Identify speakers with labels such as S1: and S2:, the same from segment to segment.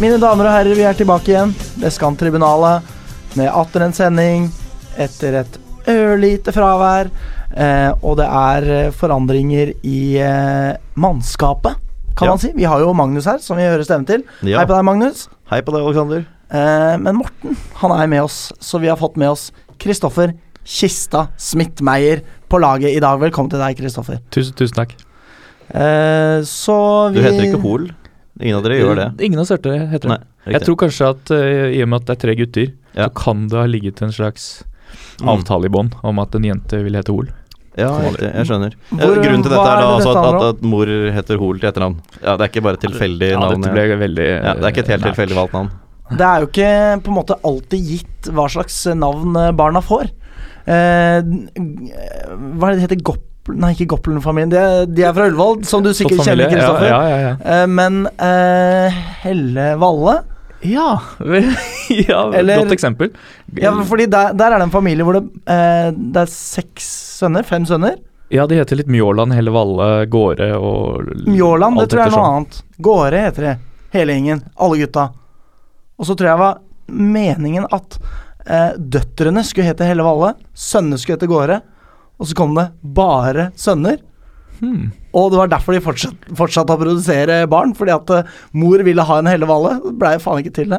S1: Mine damer og herrer, vi er tilbake igjen. Vestkanttribunalet med atter en sending etter et ørlite fravær. Eh, og det er eh, forandringer i eh, mannskapet, kan
S2: Ja.
S1: man si. Vi har jo Magnus her, som vi hører stemmen til.
S2: Ja.
S1: Hei på deg, Magnus.
S2: Hei på deg, Alexander.
S1: Eh, men Morten, han er med oss, så vi har fått med oss Kristoffer Kista Smith-Meyer på laget i dag. Velkommen til deg, Kristoffer.
S3: Tusen, tusen takk.
S1: Eh, så
S2: Du
S1: vi
S2: heter ikke Hol. Ingen av dere gjør det.
S3: Ingen av størtene heter det.
S2: Nei, riktig.
S3: jeg tror kanskje at eh, i og med at det er tre gutter,
S2: Ja.
S3: så kan det ha ligget en slags
S2: Mm.
S3: avtale i bånd om at en jente vil hete Hol.
S2: Ja, riktig. Jeg skjønner. Eh,
S1: Hvor-
S2: Grunnen til
S1: hva
S2: dette er
S1: er
S2: da
S1: det
S2: altså
S1: dette
S2: at, at,
S1: handler
S2: at mor heter Hol til etternavn. Ja, Det er ikke bare et tilfeldig
S3: Ja,
S2: navn.
S3: dette ble veldig eh,
S2: Ja, det er ikke et helt
S3: Nei.
S2: tilfeldig valgt navn.
S1: Det er jo ikke på en måte alltid gitt hva slags navn eh, barna får. Eh, g- hva er det det heter? Gopl... Nei, ikke Goplen-familien. De, er- de er fra Ullevål, som du sikkert
S3: Godt
S1: kjenner,
S3: familie.
S1: Kristoffer.
S3: Ja, ja, ja.
S1: Eh, men eh, Helle Valle
S3: Ja, ja
S1: Eller-
S3: godt eksempel.
S1: ja, Fordi der, der er det en familie hvor det, eh, det er seks sønner. Fem sønner.
S3: Ja, de heter litt Mjåland, Helle Valle, Gårde og
S1: Mjåland, det
S3: alt
S1: tror jeg er noe
S3: ettersom.
S1: annet. Gåre heter de. Hele gjengen. Alle gutta. Og så tror jeg var meningen at eh, døtrene skulle hete Helle Valle, sønnene skulle hete Gåre, og så kom det bare sønner.
S3: Hmm.
S1: Og det var derfor de fortsatte fortsatt å produsere barn, fordi at eh, mor ville ha en Helle Valle. Det blei faen ikke til det.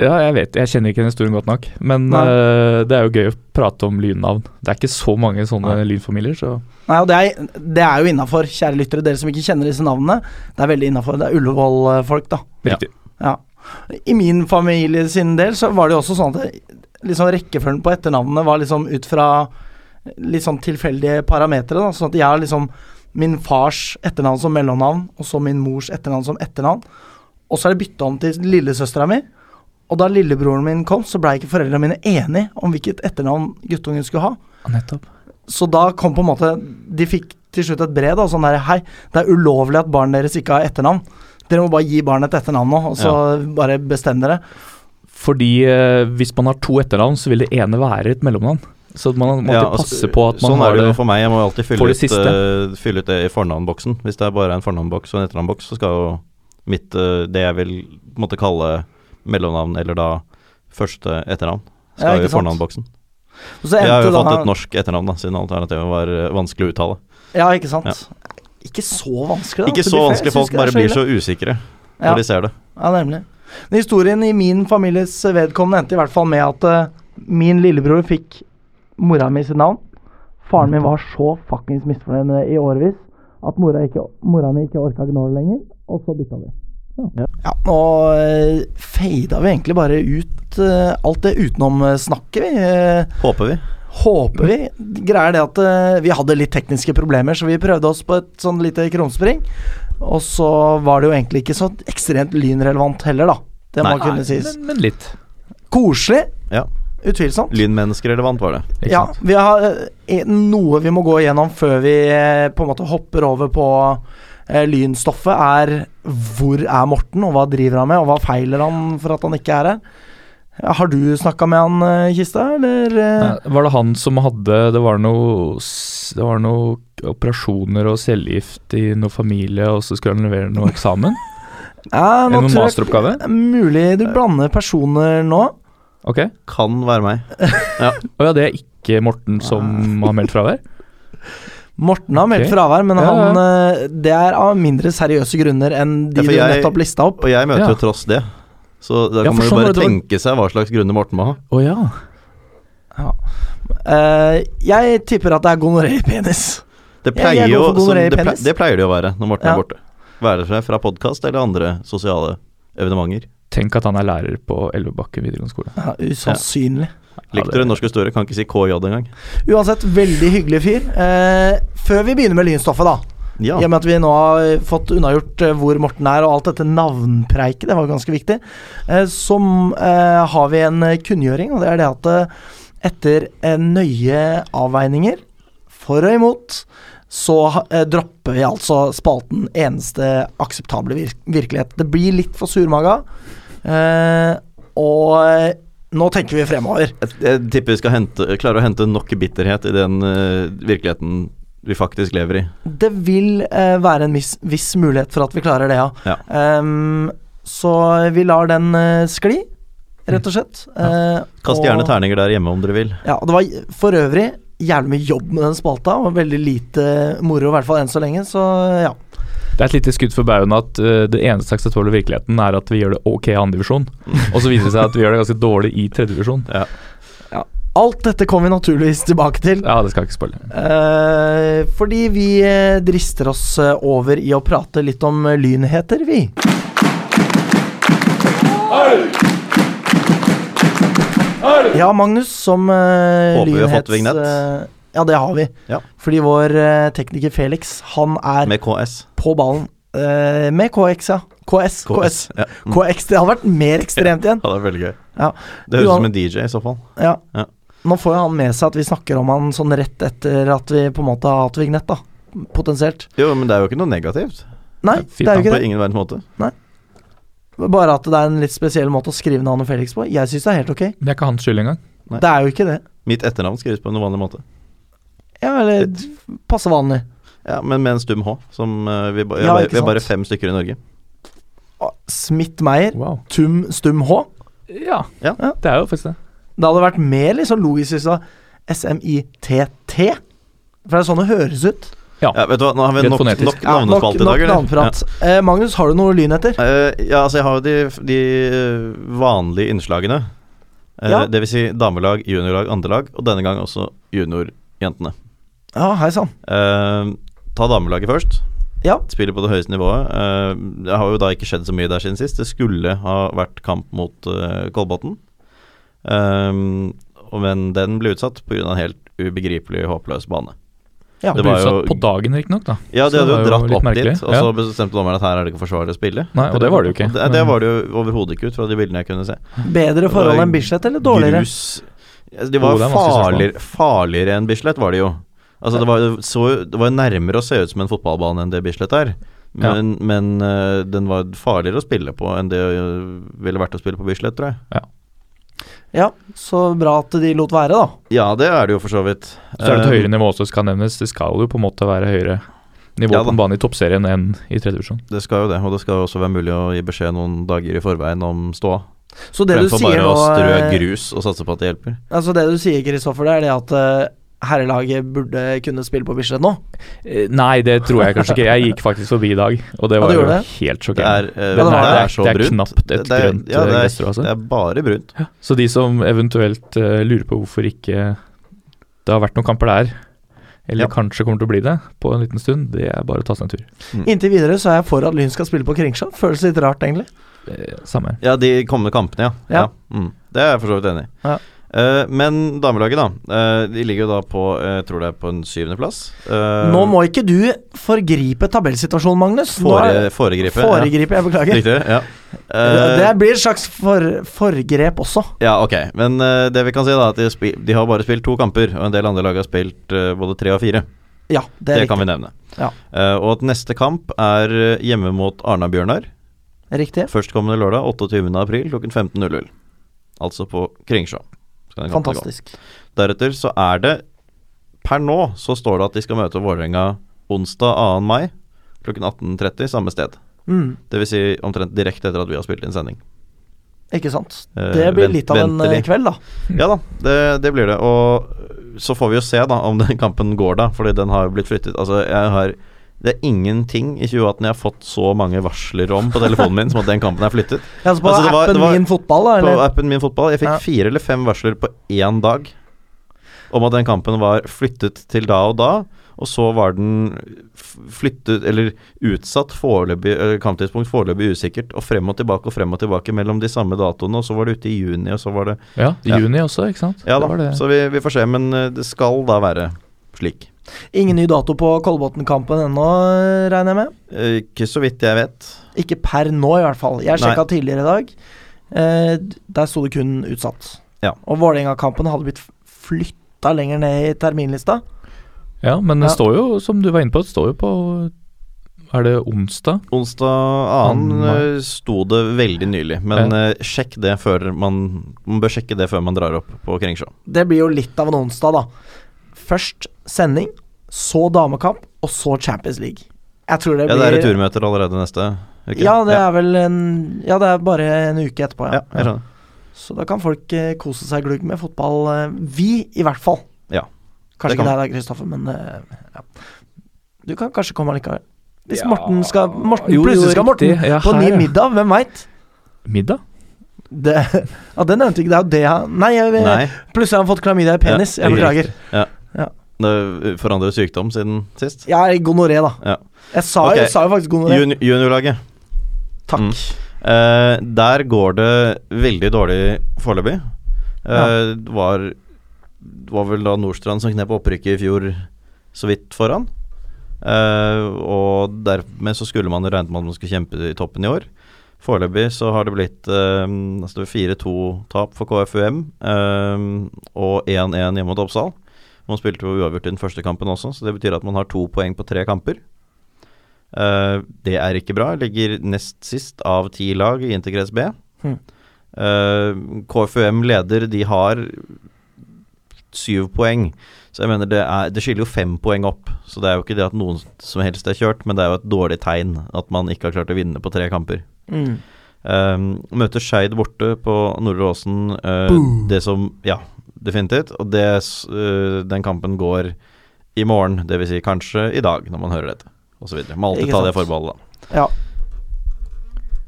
S3: Ja, jeg vet Jeg kjenner ikke den historien godt nok. Men
S1: Nei.
S3: eh, det er jo gøy å prate om lynnavn. Det er ikke så mange sånne
S2: Nei.
S3: lynfamilier, så
S1: Nei, og det er, det er jo innafor, kjære lyttere, dere som ikke kjenner disse navnene. Det er veldig innafor. Det er Ullevål-folk, da.
S2: Ja.
S3: riktig.
S1: Ja. I min familie sin del så var det jo også sånn at det- liksom rekkefølgen på etternavnene var liksom ut fra litt sånn tilfeldige parametere. da, Sånn at jeg har liksom min fars etternavn som mellomnavn, og så min mors etternavn som etternavn. Og så er det bytta om til lillesøstera mi. Og da lillebroren min kom, så blei ikke foreldrene mine enige om hvilket etternavn guttungen skulle ha.
S3: Nettopp.
S1: Så da kom på en måte De fikk til slutt et brev da, sånn der Hei, det er ulovlig at barnet deres ikke har etternavn. Dere må bare gi barnet et etternavn nå, og så bare bestem dere.
S3: Fordi eh, hvis man har to etternavn, så vil det ene være et mellomnavn. Så man må
S2: Ja,
S3: alltid
S2: altså,
S3: passe på at man
S2: sånn
S3: har
S2: er det
S3: det
S2: jo for meg. Jeg må jo alltid
S3: Får
S2: fylle
S3: det
S2: ut,
S3: siste.
S2: eh, fylle ut det i fornavnboksen. Hvis det er bare en fornavnboks og en etternavnboks, så skal jo mitt eh, Det jeg vil måtte kalle mellomnavn, eller da første etternavn,
S1: Ja,
S2: skal
S1: ikke
S2: jo i
S1: sant.
S2: fornavnboksen.
S1: Og så
S2: Jeg har
S1: endte
S2: jo fått
S1: da-
S2: et norsk etternavn, da, siden alternativet var eh, vanskelig å uttale.
S1: Ja, ikke sant. Ikke så vanskelig, da.
S2: Ikke
S1: to
S2: så
S1: be fair. Jeg
S2: vanskelig,
S1: synes
S2: folk
S1: ikke det er
S2: bare blir
S1: ille.
S2: så usikre
S1: Ja.
S2: når de ser det.
S1: Ja, nemlig. Men historien i min families vedkommende endte i hvert fall med at eh, min lillebror fikk mora mi sitt navn. Faren min var så fuckings misfornøyd med det i årevis at mora, ikke, mora mi ikke orka gnåle lenger, og så bytta vi. Ja. ja, nå eh, fada vi egentlig bare ut eh, alt det utenomsnakket, vi. eh,
S2: Håper vi.
S1: håper vi greier det at eh, vi hadde litt tekniske problemer, så vi prøvde oss på et sånn lite krumspring. Og så var det jo egentlig ikke så ekstremt lynrelevant heller, da. Det må
S2: Nei.
S1: kunne sies.
S3: men, men litt.
S1: Koselig,
S2: Ja.
S1: utvilsomt.
S2: Lynmenneskerelevant var det.
S3: Ikke
S1: Ja,
S3: sant?
S1: vi har eh, en- noe vi må gå igjennom før vi eh, på en måte hopper over på eh, lynstoffet, er hvor er Morten, og hva driver han med, og hva feiler han for at han ikke er her? Har du snakka med han, eh, Kista, eller? eh?
S3: Nei, Var det han som hadde Det var noe, s- det var noe operasjoner og cellegift i noe familie, og så skulle han levere noe eksamen?
S1: Ja, nå
S3: Eller noen
S1: tror jeg-
S3: masteroppgave?
S1: Mulig du blander personer nå.
S3: Ok.
S2: Kan være meg.
S3: Å ja, det er ikke Morten som
S1: Ah.
S3: har meldt fravær?
S1: Morten har meldt
S3: Ok.
S1: fravær, men
S3: Ja, ja.
S1: han, eh, det er av mindre seriøse grunner enn de
S2: Ja, for
S1: du
S2: jeg-
S1: nettopp lista opp.
S2: Og jeg møter
S3: Ja.
S2: jo tross det. Så da
S3: Ja,
S2: kan
S3: for
S2: man jo
S3: sånn
S2: bare
S3: var det det var-
S2: tenke seg hva slags grunner Morten må ha.
S3: Å ja.
S1: Eh, jeg tipper at det er gonoré i penis.
S2: Det
S1: Jeg- jeg
S2: pleier,
S1: går
S2: jo,
S1: for gonoré
S2: som,
S1: i
S2: det,
S1: penis.
S2: ple- det pleier det jo å være når Morten
S1: Ja.
S2: er borte. Være seg fra podkast eller andre sosiale evenementer.
S3: Tenk at han er lærer på Elvebakken videregående skole.
S1: Ja, usannsynlig.
S2: Lektor i norsk historie kan ikke si KJ engang.
S1: Uansett, veldig hyggelig fyr. Eh, før vi begynner med lynstoffet, da.
S2: Ja.
S1: I og med at vi nå har fått unnagjort eh, hvor Morten er, og alt dette navnpreiket, det var ganske viktig, eh, så eh, har vi en eh, kunngjøring, og det er det at eh, etter eh, nøye avveininger, for og imot, så ha- eh, dropper vi altså spalten eneste akseptable vir virkelighet. Det blir litt for surmaga, eh, og eh, nå tenker vi fremover.
S2: Jeg, jeg tipper vi skal hente, klare å hente nok bitterhet i den eh, virkeligheten vi faktisk lever i.
S1: Det vil eh, være en viss, viss mulighet for at vi klarer det, ja.
S2: Ja.
S1: Ehm, Så vi lar den eh, skli, rett og slett. Eh,
S2: Kast
S1: og-
S2: gjerne terninger der hjemme om dere vil.
S1: Ja, og det var for øvrig jævlig mye jobb med den spalta, og veldig lite moro, i hvert fall enn så lenge, så ja.
S3: Det er et lite skudd for baugen at eh, det eneste akseptable virkeligheten er at vi gjør det ok i andredivisjon, og så viser det seg at vi gjør det ganske dårlig i tredjedivisjon.
S1: Alt dette kommer vi naturligvis tilbake til.
S3: Ja, det skal jeg ikke spoile.
S1: Eh, fordi vi eh, drister oss eh, over i å prate litt om eh, lynheter, vi. Ja, Magnus, som eh,
S2: Håper vi har
S1: lynhets-
S2: fått vignett.
S1: eh, ja, det har vi.
S2: Ja.
S1: Fordi vår eh, tekniker Felix, han er
S2: Med KS.
S1: på ballen eh, med KX, ja. KS. KS.
S2: Ja. Mm.
S1: KX, det hadde vært mer ekstremt igjen.
S2: Ja, det er veldig gøy.
S1: Ja. Du
S2: Det høres ut
S1: har-
S2: som en DJ i så fall.
S1: Ja.
S2: Ja.
S1: Nå får jo han med seg at vi snakker om han sånn rett etter at vi på en måte har hatt vignett, da. Potensielt.
S2: Jo, men det er jo ikke noe negativt.
S1: Nei,
S3: Ja, fint
S1: det er jo
S2: På
S1: ikke det.
S2: ingen verdens måte.
S1: Bare at det er en litt spesiell måte å skrive navnet Felix på. Jeg syns det er helt ok.
S3: Det er ikke hans skyld engang.
S2: Nei.
S1: Det er jo ikke det.
S2: Mitt etternavn skrives på en vanlig måte.
S1: Ja, eller passe vanlig.
S2: Ja, Men med en stum H. Som eh, vi, ba, vi,
S1: Ja,
S2: er bare-
S1: ikke
S2: vi er bare
S1: sant.
S2: fem stykker i Norge.
S1: Å, Smith Meyer,
S3: Wow.
S1: Tum Stum H.
S3: Ja,
S2: Ja.
S3: det er jo faktisk det.
S1: Det hadde vært mer liksom logisk hvis det var SMITT. For det er sånn det høres ut.
S2: Ja, vet du hva, Nå har vi
S3: Litt
S2: nok,
S3: fonetisk.
S2: nok
S1: Ja, nok
S2: navnespalt i dag,
S1: nok navneprat. Eh, Magnus, har du noe lyn etter?
S2: Eh, ja, altså jeg har jo de, de eh, vanlige innslagene. Eh,
S1: Ja.
S2: Det vil si damelag, juniorlag, andrelag, og denne gang også juniorjentene.
S1: Ja, hei sann.
S2: Eh, ta damelaget først.
S1: Ja.
S2: Spiller på det høyeste nivået. Eh, det har jo da ikke skjedd så mye der siden sist. Det skulle ha vært kamp mot eh, Kolbotn, Eh, og- men den ble utsatt pga. en helt ubegripelig håpløs bane.
S1: Ja.
S2: Det
S3: Det ble
S2: var jo-
S3: utsatt på dagen, riktignok, da.
S2: Ja, de
S3: Så det
S2: hadde jo
S3: var jo
S2: dratt
S3: litt
S2: opp
S3: merkelig.
S2: dit, og så bestemte dommeren at her er det ikke forsvarlig å spille.
S3: Nei, og det var det jo ikke.
S2: Det, det var det jo overhodet ikke ut fra de bildene jeg kunne se.
S1: Bedre forhold enn Bislett, eller dårligere?
S2: Grus Altså, De var
S3: Jo, det er vanskelig spørsmål.
S2: farligere, farligere enn Bislett, var det jo. Altså, det var, jo- så, jo- det var jo nærmere å se ut som en fotballbane enn det Bislett er. Men, men eh, den var farligere å spille på enn det eh, ville vært å spille på Bislett, tror jeg.
S1: Ja, så bra at de lot være, da.
S2: Ja, det er det jo for så vidt.
S3: Så er det
S2: Eh,
S3: et høyere nivå også, skal nevnes. Det skal jo på en måte være høyere nivå
S2: Ja da.
S3: på en bane i toppserien enn i tredjedivisjon.
S2: Eh, Det skal jo det, og det skal jo også være mulig å gi beskjed noen dager i forveien om ståa.
S1: Så det du
S2: Fremfor
S1: sier
S2: bare
S1: nå
S2: å strø
S1: eh,
S2: grus og satse på at det hjelper.
S1: Altså det du sier, Kristoffer, det er det at eh, herrelaget burde kunne spille på Bislett nå?
S3: Eh, Nei, det tror jeg kanskje ikke. Jeg gikk faktisk forbi i dag, og det
S1: Ja,
S3: var
S1: du
S3: jo
S1: gjorde det?
S3: helt
S2: Det er,
S3: sjokkerende.
S2: eh,
S1: Ja, det var
S2: det,
S1: det.
S2: er så
S3: Det er
S2: brunt.
S3: knapt et
S2: Det er-
S3: grønt,
S2: ja,
S3: eh,
S2: det er-
S3: gresstrå, altså.
S2: Det er bare brunt.
S3: Så de som eventuelt eh, lurer på hvorfor ikke det har vært noen kamper der, eller
S2: Ja.
S3: kanskje kommer til å bli det på en liten stund, det er bare å ta seg en tur.
S1: Inntil videre så er jeg for at Lyn skal spille på Kringsjå. Føles litt rart, egentlig.
S3: Eh, Samme her.
S2: Ja, de kommende kampene, ja.
S1: Ja.
S2: mm. Det er jeg for så vidt enig i.
S1: Ja.
S2: Eh, men damelaget, da. eh, de ligger jo da på eh, jeg tror det er på en syvendeplass. Uh,
S1: Nå må ikke du forgripe tabellsituasjonen, Magnus. Nå
S2: fore,
S1: er-
S2: Foregripe.
S1: Foregripe, jeg
S2: Ja.
S1: beklager.
S2: Riktig. Ja. Eh,
S1: Det blir et slags for, forgrep også.
S2: ja, ok. Men eh, det vi kan si, da, er at de, har spi- de har bare spilt to kamper, og en del andre lag har spilt eh, både tre og fire.
S1: Ja, det
S2: Det,
S1: er
S2: kan
S1: riktig.
S2: vi nevne.
S1: Ja.
S2: Eh, og at neste kamp er eh, hjemme mot Arna-Bjørnar.
S1: riktig.
S2: Førstkommende lørdag 28. april klokken 15.00. Altså på Kringsjå. Skal den kampen gå.
S1: Fantastisk.
S2: Deretter så er det Per nå så står det at de skal møte Vålerenga onsdag 2. mai klokken 18.30 samme sted.
S1: Mm,
S2: Dvs. Si omtrent direkte etter at vi har spilt inn sending.
S1: ikke sant.
S2: Eh,
S1: Det blir
S2: vent-
S1: litt av en eh,
S2: ventelig.
S1: kveld, da.
S2: Ja da, det, det blir det. Og så får vi jo se da om den kampen går, da. Fordi den har jo blitt flyttet. Altså, jeg har Det er ingenting i 2018 jeg har fått så mange varsler om på telefonen min som at den kampen er flyttet.
S1: Ja, altså på
S2: Altså, det var-
S1: appen
S2: det var-
S1: Min fotball, da?
S2: På
S1: Eller?
S2: appen Min Fotball. Jeg fikk
S1: Ja.
S2: fire eller fem varsler på én dag om at den kampen var flyttet til da og da, og så var den f- flyttet eller utsatt foreløpig eller kamptidspunkt foreløpig usikkert, og frem og tilbake og frem og tilbake mellom de samme datoene, og så var det ute i juni, og så var det
S3: Ja,
S2: Ja.
S3: juni også, ikke sant?
S2: Ja
S3: Det var
S2: da,
S3: det.
S2: så vi, vi får se, men eh, det skal da være slik.
S1: Ingen ny dato på Kolbotn-kampen ennå, eh, regner jeg med?
S2: Eh, Ikke så vidt jeg vet.
S1: Ikke per nå, i hvert fall. Jeg
S2: Nei.
S1: sjekka tidligere i dag. Eh, d- der sto det kun utsatt.
S2: Ja.
S1: Og Vålerenga-kampen hadde blitt flytta lenger ned i terminlista.
S3: Ja, men det
S1: Ja.
S3: står jo, som du var inne på, det står jo på Er det onsdag?
S2: Onsdag 2.
S3: Mai.
S2: eh, sto det veldig nylig, men eh, sjekk det før man, man bør sjekke det før man drar opp på Kringsjå.
S1: Det blir jo litt av en onsdag, da. Først sending, så damekamp, og så Champions League. Jeg tror det
S2: Ja, det
S1: blir
S2: er returmøter allerede neste. ikke?
S1: Ja, det
S2: ja.
S1: er vel en Ja, det er bare en uke etterpå, ja.
S2: ja, jeg skjønner.
S1: Så da kan folk eh, kose seg glugg med fotball. eh, Vi, i hvert fall.
S2: Ja,
S1: Kanskje
S2: det kan
S1: ikke deg da, Kristoffer, men eh, ja. Du kan kanskje komme likevel. Hvis
S3: Ja.
S1: Morten skal Morten,
S3: Jo, jo,
S1: Plutselig skal Morten
S3: riktig. Ja,
S1: på
S3: her,
S1: ny
S3: ja.
S1: middag, hvem veit?
S3: Middag?
S1: Det, ja, det nevnte vi ikke. Det er jo det han Nei, jeg,
S2: Nei,
S1: plutselig har han fått klamydia i penis.
S2: Ja,
S1: jeg
S2: det er
S1: beklager.
S2: det forandrer sykdom siden sist.
S1: Jeg er gonoré, da.
S2: Ja.
S1: Jeg sa,
S2: Ok.
S1: jo, sa jo faktisk gonoré.
S2: Juni juniorlaget.
S1: Takk.
S2: Eh, der går det veldig dårlig foreløpig. Eh,
S1: Ja.
S2: det var, det var vel da Nordstrand som knep opprykket i fjor så vidt foran. Eh, og dermed så skulle man regnet med at man skulle kjempe i toppen i år. Foreløpig så har det blitt eh, altså det var 4-2-tap for KFUM eh, og 1-1 hjemme mot Oppsal. Man spilte jo uavgjort i den første kampen også, så det betyr at man har to poeng på tre kamper. Eh, det er ikke bra. Ligger nest sist av ti lag i Interkrets B.
S1: Hmm.
S2: Eh, KFUM leder, de har syv poeng. Så jeg mener det, er, det skiller jo fem poeng opp. Så det er jo ikke det at noen som helst er kjørt, men det er jo et dårlig tegn at man ikke har klart å vinne på tre kamper.
S1: Mm.
S2: Um, møter Skeid borte på Nordre Åsen. eh,
S1: Boo.
S2: det som Ja, definitivt. Og det, s- eh, den kampen går i morgen, dvs. Si kanskje i dag, når man hører dette, osv. Må alltid
S1: Ikke
S2: ta det
S1: sant.
S2: forbeholdet, da.
S1: Ja.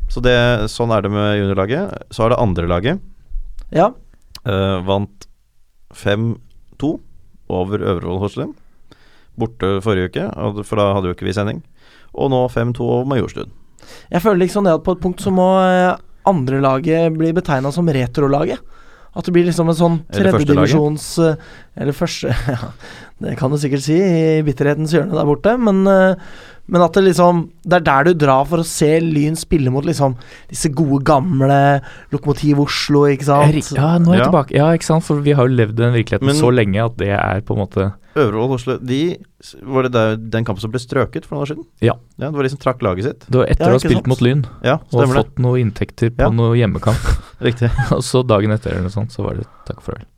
S2: Så det, sånn er det med juniorlaget. Så er det andrelaget.
S1: Ja.
S2: Eh, vant 5-2 over Øvrevoll Horslund. Borte forrige uke, og- for da hadde jo ikke vi sending. Og nå 5-2 over Majorstuen.
S1: Jeg føler liksom det at på et punkt så må eh, andre laget bli betegna som retrolaget. At det blir liksom en sånn
S2: Eller første laget.
S1: tredjedivisjons eh, Eller første Ja, det kan du sikkert si, i bitterhetens hjørne der borte, men eh, men at det liksom Det er der du drar for å se Lyn spille mot liksom disse gode, gamle Lokomotiv Oslo, ikke sant?
S3: Ja, nå er jeg
S2: Ja.
S3: tilbake. Ja, ikke sant? For vi har jo levd i den virkeligheten
S2: Men-
S3: så lenge at det er på en måte
S2: Øvrevoll Horslund de, Var det der, den kampen som ble strøket for noen år siden?
S3: Ja.
S2: ja det var de som trakk laget sitt?
S3: det var Etter
S1: Ja,
S3: å ha
S1: ikke
S3: spilt
S1: sant?
S3: mot Lyn
S2: Ja,
S3: og
S2: stemmer det.
S3: fått noe inntekter på
S2: Ja.
S3: noe hjemmekamp,
S2: Riktig.
S3: og så dagen etter eller noe sånt, så var det takk for det.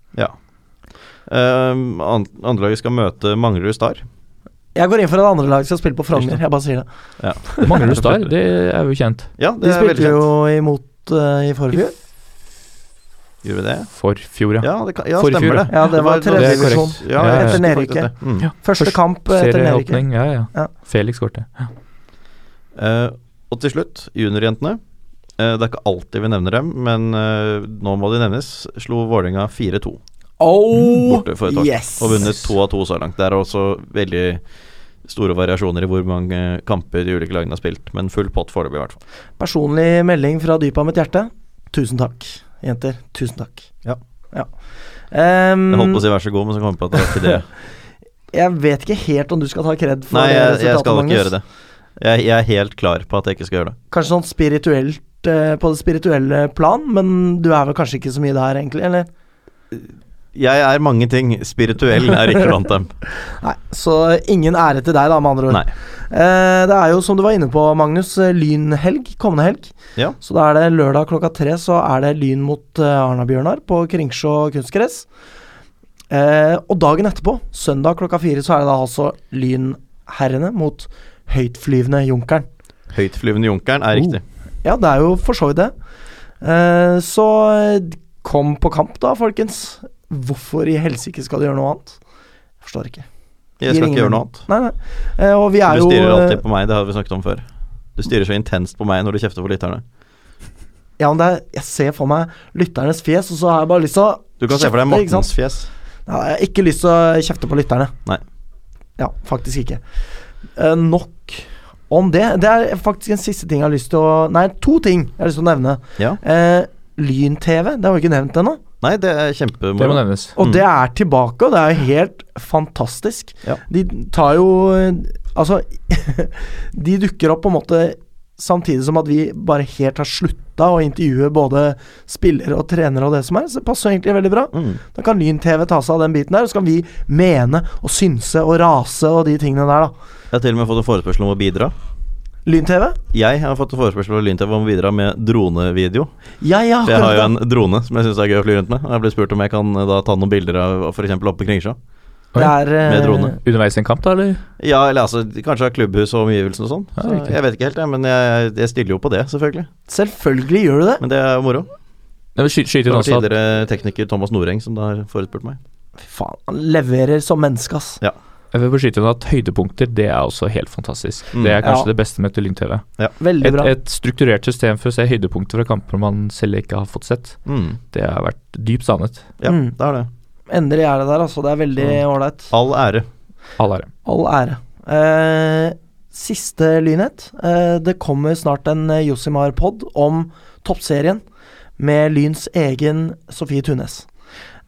S2: Um, an- Andrelaget skal møte Manglerud Star.
S1: Jeg går inn for at andre lag skal spille på Frogner, jeg bare sier det.
S3: Mangler du star? Det er jo kjent.
S2: Ja, det
S1: De
S2: er veldig
S1: spilte jo
S2: kjent.
S1: imot eh, i forfjor.
S2: Gjorde vi det?
S3: Forfjor, ja.
S2: Ja, det kan, ja
S3: Forfjor,
S2: stemmer
S3: ja.
S2: det.
S1: Ja, det var
S2: da-
S1: tredje
S3: Det er korrekt.
S1: divisjon.
S2: Ja, jeg
S3: Ja,
S2: husker
S3: ja.
S1: Etter
S2: faktisk
S1: nedrykket.
S2: det. Mm.
S3: Ja.
S1: Første kamp eh, etter nedrykket.
S3: Serieåpning, ja, ja
S1: Ja.
S3: ja. Felix Korte. Ja.
S2: Eh, og til slutt, juniorjentene. Eh, det er ikke alltid vi nevner dem, men eh, nå må de nevnes. Slo Vålerenga 4-2
S1: Oh,
S2: borte for et tak.
S1: yes!
S2: Og vunnet to av to så langt. Det er også veldig store variasjoner i hvor mange kamper de ulike lagene har spilt, men full pott foreløpig, i hvert fall.
S1: Personlig melding fra dypet av mitt hjerte. Tusen takk, jenter. Tusen takk.
S2: Ja.
S1: Ehm,
S2: Jeg holdt på
S1: jeg,
S2: å si vær så god, men så kom jeg på at det var ikke det.
S1: vet ikke helt om du skal ta kred for
S2: Nei,
S1: det
S2: jeg, jeg
S1: resultatet,
S2: skal ikke
S1: Magnus.
S2: gjøre det. Jeg, jeg er helt klar på at jeg ikke skal gjøre det.
S1: Kanskje sånn spirituelt eh, på det spirituelle plan, men du er vel kanskje ikke så mye der, egentlig? Eller?
S2: Jeg er mange ting. Spirituell er ikke blant dem.
S1: Nei, Så ingen ære til deg, da, med andre ord.
S2: Nei.
S1: Eh, det er jo, som du var inne på, Magnus, eh, lynhelg kommende helg.
S2: Ja.
S1: Så da er det lørdag klokka tre så er det Lyn mot eh, Arna-Bjørnar på Kringsjå kunstgress. Eh, og dagen etterpå, søndag klokka fire, så er det da altså Lynherrene mot høytflyvende Junkeren.
S2: Høytflyvende junkeren
S1: Oh.
S2: er riktig.
S1: Ja, det er jo for så vidt det. Eh, så eh, kom på kamp, da, folkens. Hvorfor i helsike skal du gjøre noe annet? Jeg forstår ikke.
S2: Jeg skal ikke gjøre noe annet.
S1: Nei, nei. Eh, og vi er
S2: Du
S1: jo
S2: styrer
S1: eh,
S2: alltid på meg, det har vi snakket om før. Du styrer så intenst på meg når du kjefter på lytterne.
S1: Ja, men det er, Jeg ser for meg lytternes fjes, og så har jeg bare lyst til å
S2: Du kan se for deg
S1: Kjefte, ikke sant?
S2: Mortens fjes.
S1: Ja, jeg har ikke lyst til å kjefte på lytterne.
S2: Nei.
S1: Ja, faktisk ikke. Eh, nok om det. Det er faktisk en siste ting jeg har lyst til å Nei, to ting jeg har lyst til å nevne.
S2: Ja.
S1: Eh, Lyn-TV, det har vi ikke nevnt ennå.
S2: Nei, det er
S3: Det må
S2: kjempemoro.
S3: nevnes.
S1: Og
S2: Mm.
S1: det er tilbake, og det er jo helt fantastisk.
S2: Ja.
S1: De tar jo eh, Altså, de dukker opp på en måte samtidig som at vi bare helt har slutta å intervjue både spillere og trenere og det som er. Så det passer jo egentlig veldig bra.
S2: Mm.
S1: Da kan Lyn-TV ta seg av den biten der, og så kan vi mene og synse og rase og de tingene der, da.
S2: Jeg har til og med fått en forespørsel om å bidra.
S1: Lyn-TV?
S2: Jeg har fått en forespørsel av Lyn-TV om å bidra med dronevideo.
S1: Ja, ja,
S2: For jeg har jo
S1: akkurat det.
S2: en drone som jeg syns er gøy å fly rundt med. Og jeg ble spurt om jeg kan eh, da ta noen bilder av f.eks. oppe på Kringsjå.
S1: Det er eh,
S2: Med drone.
S3: Underveis i en kamp, da, eller?
S2: Ja, eller altså Kanskje av klubbhus og omgivelser og sånn.
S3: Ja,
S2: Så
S3: riktig.
S2: jeg vet ikke helt, jeg, men jeg, jeg stiller jo på det, selvfølgelig.
S1: Selvfølgelig gjør du det.
S2: Men det er jo moro.
S3: Nei, men sky,
S2: Det
S3: skyter
S2: var
S3: også at
S2: tidligere tekniker Thomas Noreng som da har forespurt meg.
S1: Fy faen, han leverer som menneske, ass.
S3: Jeg vil beskytte henne at høydepunkter, det er også helt fantastisk.
S2: Mm.
S3: Det er kanskje
S1: Ja.
S3: det beste med Tulling-TV.
S1: Veldig
S3: Et,
S1: bra.
S3: et strukturert system for å se høydepunkter fra kamper man selv ikke har fått sett,
S2: Mm.
S3: det har vært dypt savnet.
S2: Ja,
S1: Mm.
S2: det er det.
S1: Endelig er det der, altså. Det er veldig
S2: Mm.
S1: ålreit.
S2: All ære.
S3: All ære.
S1: All ære. Eh, siste lynhet. Eh, det kommer snart en eh, Josimar-pod om toppserien med Lyns egen Sofie Tunes.